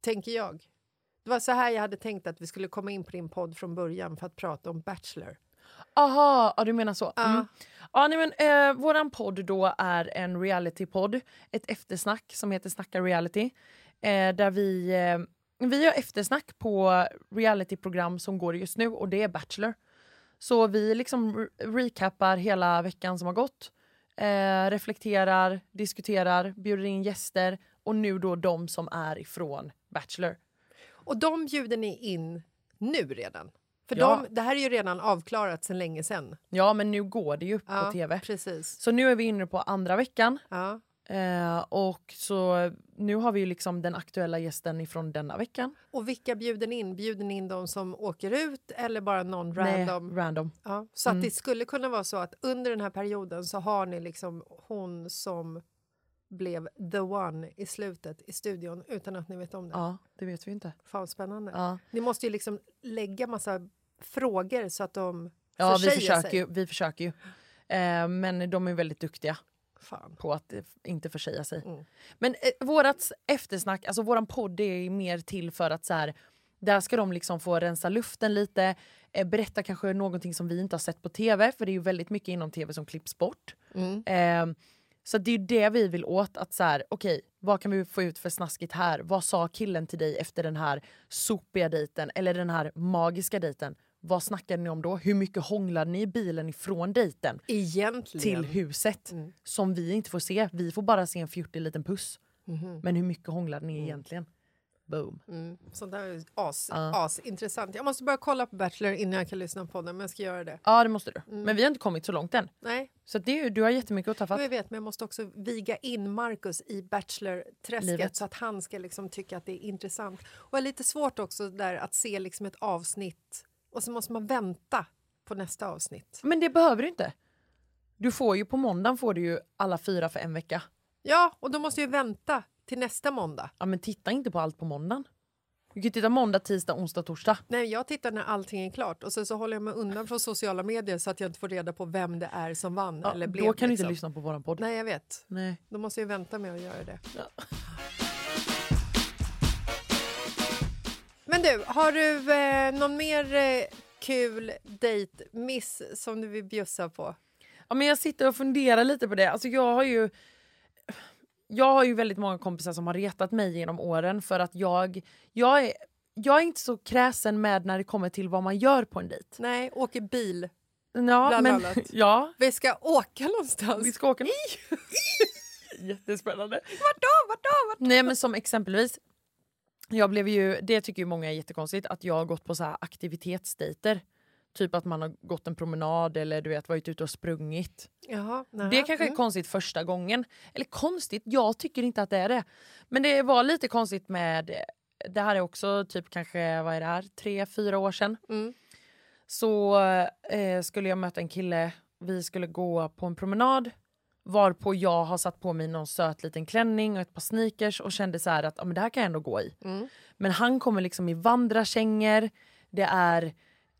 tänker jag. Det var så här jag hade tänkt att vi skulle komma in på din podd från början för att prata om Bachelor.
Aha, ja, du menar så. Mm. Ja, nej, men, eh, våran podd då är en realitypodd, ett eftersnack som heter Snacka reality. Eh, där vi, eh, vi gör eftersnack på realityprogram som går just nu och det är Bachelor. Så vi liksom re- recapar hela veckan som har gått. eh, reflekterar, diskuterar, bjuder in gäster och nu då de som är ifrån Bachelor.
Och de bjuder ni in nu redan? För
Ja.
de, det här är ju redan avklarat sedan länge sen.
Ja, men nu går det ju
Ja,
på tv.
precis.
Så nu är vi inne på andra veckan.
Ja.
Eh, och så nu har vi ju liksom den aktuella gästen ifrån denna veckan.
Och vilka bjuder ni in? Bjuder ni in de som åker ut eller bara någon random?
Nej, random.
Ja, så att
Mm.
det skulle kunna vara så att under den här perioden så har ni liksom hon som blev the one i slutet i studion utan att ni vet om det.
Ja, det vet vi inte.
Fan vad spännande.
Ja.
Ni måste ju liksom lägga massa frågor så att de
Ja, vi
försäger
försöker
sig.
ju. Vi försöker ju. Eh, men de är väldigt duktiga
Fan.
på att eh, inte försäga sig. Men eh, vårat eftersnack, alltså våran podd är mer till för att så här, där ska de liksom få rensa luften lite, eh, berätta kanske någonting som vi inte har sett på tv, för det är ju väldigt mycket inom tv som klipps bort. Eh, så det är ju det vi vill åt, att så här, okej, vad kan vi få ut för snaskigt här? Vad sa killen till dig efter den här sopiga dejten eller den här magiska dejten? Vad snackade ni om då? Hur mycket hånglade ni i bilen ifrån dejten?
Egentligen.
till huset
Mm.
som vi inte får se. Vi får bara se en fjortig liten puss.
Mhm.
Men hur mycket hånglar ni egentligen? Boom.
Mm. Sånt där är as,
Ja.
asintressant. Jag måste börja kolla på Bachelor innan jag kan lyssna på den, men jag ska göra det.
Ja, det måste du.
Mm.
Men vi har inte kommit så långt än.
Nej,
Så det är, ju- du har jättemycket att ta
jag
fatt
vet, men jag måste också viga in Marcus i Bachelor-träsket
Livet.
så att han ska liksom tycka att det är intressant. Och det är lite svårt också där att se liksom ett avsnitt och så måste man vänta på nästa avsnitt.
Men det behöver du inte. Du får ju på måndagen får du ju alla fyra för en vecka.
Ja, och då måste jag ju vänta till nästa måndag.
Ja, men titta inte på allt på måndagen. Du kan ju titta måndag, tisdag, onsdag, torsdag.
Nej, jag tittar när allting är klart och sen så håller jag mig undan från sociala medier så att jag inte får reda på vem det är som vann
Ja,
eller
då
blev. liksom-
kan du inte lyssna på våran podd.
Nej, jag vet.
Nej.
Då måste jag vänta med att göra det. Men du, har du eh, någon mer eh, kul dejtmiss som du vill bjussa på?
Ja, men jag sitter och funderar lite på det. Alltså, jag har ju... Jag har ju väldigt många kompisar som har retat mig genom åren för att jag... Jag är, jag är inte så kräsen med när det kommer till vad man gör på en dejt.
Nej, åker bil.
Ja,
Bland
men,
annat.
Ja.
Vi ska åka någonstans.
Vi ska åka någonstans. Jättespännande. Vart då? Vart då? Vart då? Nej men som exempelvis. Jag blev ju, det tycker ju många är jättekonstigt, att jag har gått på så här aktivitetsdejter. Typ att man har gått en promenad eller du vet varit ute och sprungit.
Jaha, Mm.
Det kanske är konstigt första gången. Eller konstigt, jag tycker inte att det är det. Men det var lite konstigt med... Det här är också typ kanske, vad är det här, tre, fyra år sedan. Så eh, skulle jag möta en kille, vi skulle gå på en promenad varpå jag har satt på mig någon söt liten klänning och ett par sneakers och kände så här att ja, men det här kan jag ändå gå i. Men han kommer liksom i vandrarkängor. Det är,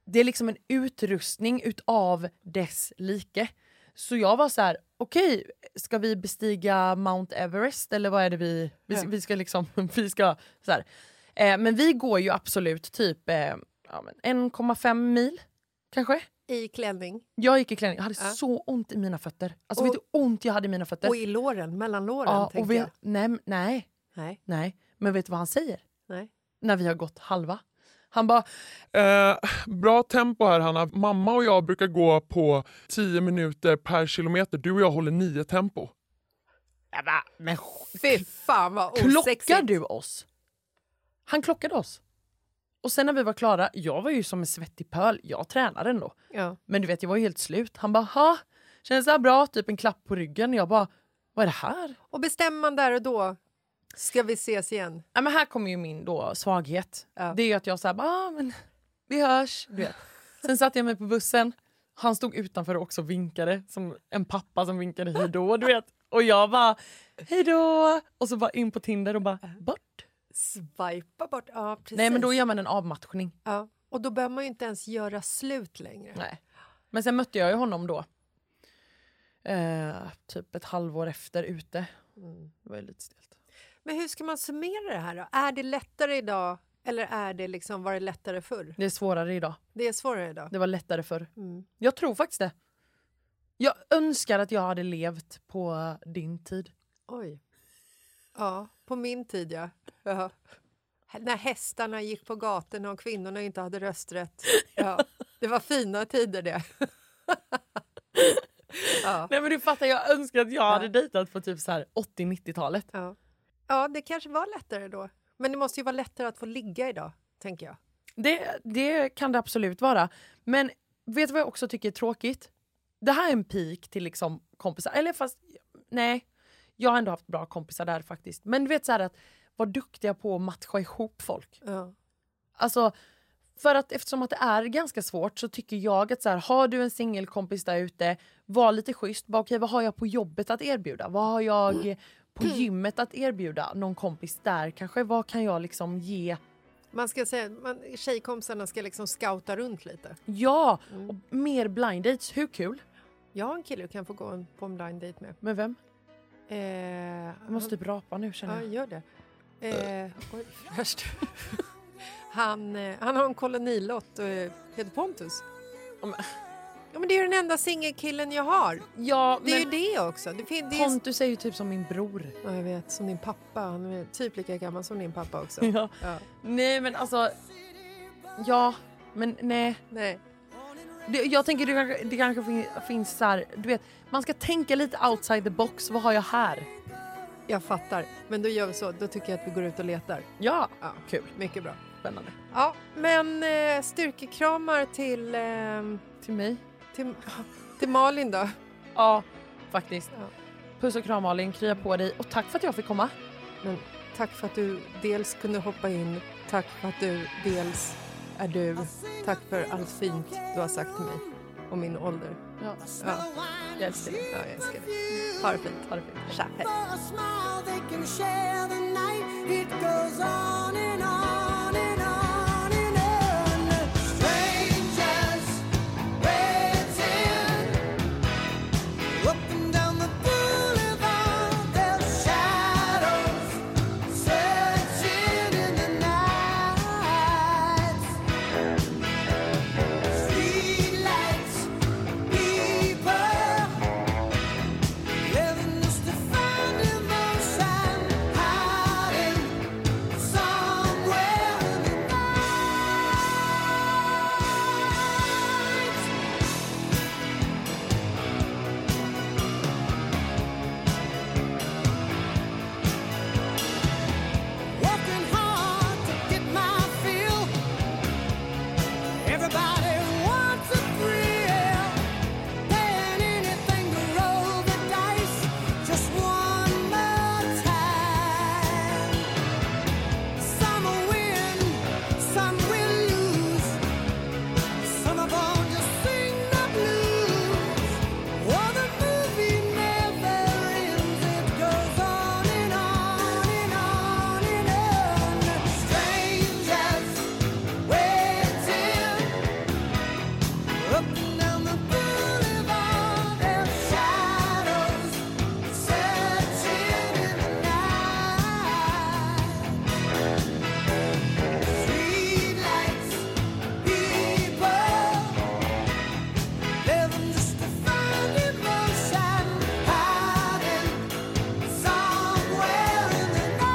det är liksom en utrustning utav dess like. Så jag var så här, okej, ska vi bestiga Mount Everest eller vad är det vi... Vi, vi ska liksom... Vi ska, så här. Eh, men vi går ju absolut typ eh, ja, men 1,5 mil kanske.
I klänning
Jag gick i klänning, jag hade
Ja.
så ont i mina fötter. Alltså
Och-
vet du hur ont jag hade i mina fötter?
och i låren, mellan låren.
ja, och
tänker
vi,
jag.
nej, nej,
Nej,
nej. Men vet du vad han säger?
nej.
När vi har gått halva. Han bara,
Eh, bra tempo här Hanna. Mamma och jag brukar gå på 10 minuter per kilometer. Du och jag håller 9 tempo.
men
Fy fan vad osexigt.
klockar du oss? Han klockade oss. Och sen när vi var klara, jag var ju som en svettig pöl. Jag tränade ändå.
Ja.
Men du vet, jag var ju helt slut. Han bara, ha, känns det här bra? Typ en klapp på ryggen. Jag bara, vad är det här?
Och bestämmer man där och då, ska vi ses igen?
Ja, men här kommer ju min då svaghet. Det är ju att jag säger ah, men vi hörs. Du vet. Sen satte jag mig på bussen. Han stod utanför och också vinkade som en pappa som vinkade hej då. Du vet. Och jag bara hej då. Och så bara in på Tinder och bara bort.
Swipa bort. Ja, precis.
Nej men då gör man en avmatchning.
ja. Och då behöver man ju inte ens göra slut längre.
Nej. Men sen mötte jag ju honom då. Eh, typ ett halvår efter ute. Det var ju lite stelt.
Men hur ska man summera det här då? Är det lättare idag eller är det liksom, var det lättare förr?
Det är svårare idag.
Det är svårare idag.
Det var lättare förr.
Mm.
Jag tror faktiskt det. Jag önskar att jag hade levt på din tid.
Oj. Ja, på min tid ja. ja. När hästarna gick på gatorna och kvinnorna inte hade rösträtt. Ja. Det var fina tider det.
Nej men du fattar, jag önskar att jag hade dejtat på typ så här 80-90-talet.
Ja, det kanske var lättare då. Men det måste ju vara lättare att få ligga idag, tänker jag.
Det, det kan det absolut vara. Men vet du vad jag också tycker är tråkigt? Det här är en pik till liksom kompisar. Eller fast nej, jag har ändå haft bra kompisar där faktiskt. Men du vet så här att vara duktiga på att matcha ihop folk. Alltså, för att eftersom att det är ganska svårt så tycker jag att så här, har du en singelkompis där ute, var lite schysst. Bara, okej, vad har jag på jobbet att erbjuda? Vad har jag på
Mm.
gymmet att erbjuda någon kompis där kanske? Vad kan jag liksom ge?
Man ska säga, man, tjejkompisarna ska liksom scouta runt lite.
Ja,
Mm.
och mer blind dates. Hur kul?
Jag har en kille du kan få gå en, på en blind date med.
Med vem?
Eh,
Jag måste typ rapa nu känner
Ja,
jag.
gör det. Eh, oj, fräscht. han, eh, han har en kolonilott och eh, heter Pontus. Ja, men det är ju den enda singelkillen jag har.
Ja,
det är
men-
ju det också. Det fin- det är
Pontus är ju typ som min bror.
Ja, jag vet. Som din pappa. Han är typ lika gammal som din pappa också.
Ja. Nej men alltså, ja men nej.
Nej.
Det, jag tänker det kanske, det kanske fin, finns så här, du vet man ska tänka lite outside the box, vad har jag här?
Jag fattar. Men då gör vi så. Då tycker jag att vi går ut och letar.
Ja,
kul. Mycket bra.
Spännande.
Ja, men eh, styrkekramar till... ehm,
till mig?
Till, till Malin då.
Ja, faktiskt. Puss och kram Malin, krya på dig och tack för att jag fick komma.
Men tack för att du dels kunde hoppa in, tack för att du dels är du, tack för allt fint du har sagt till mig och min ålder.
Ja.
Jag älskar dig. Ja, jag älskar dig. Ha det fint.
Ha det fint.
Tja, hej.
a smile they can share the night. It goes on and on and on and on. Strangers waiting up and down the boulevard. Their shadows searching in the night. Streetlights, people. Everybody wants a thrill. Paying anything to roll the dice, just one more time. Some will win, some will lose. Some are born to sing the blues. Oh, the movie never ends. It goes on and on and on and on. Strangers waiting. Up and down the boulevard, their shadows searching in the night. Streetlights, people living just to find emotion, hiding somewhere in the night.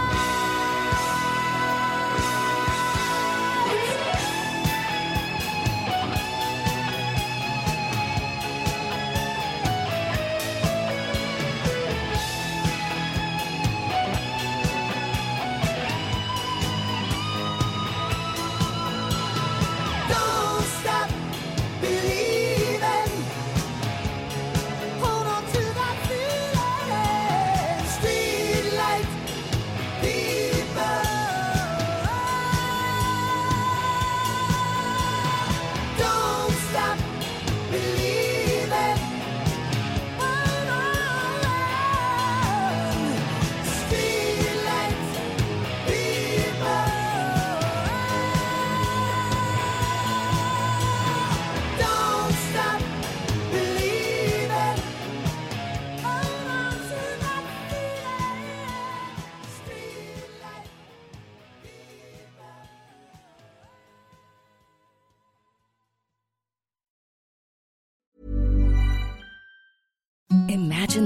Don't stop believing. Hold on to that feeling. Streetlight, people. Don't stop believing. Hold on. Streetlight, people. Don't stop believing. Hold on to that feeling. Streetlight.
Imagine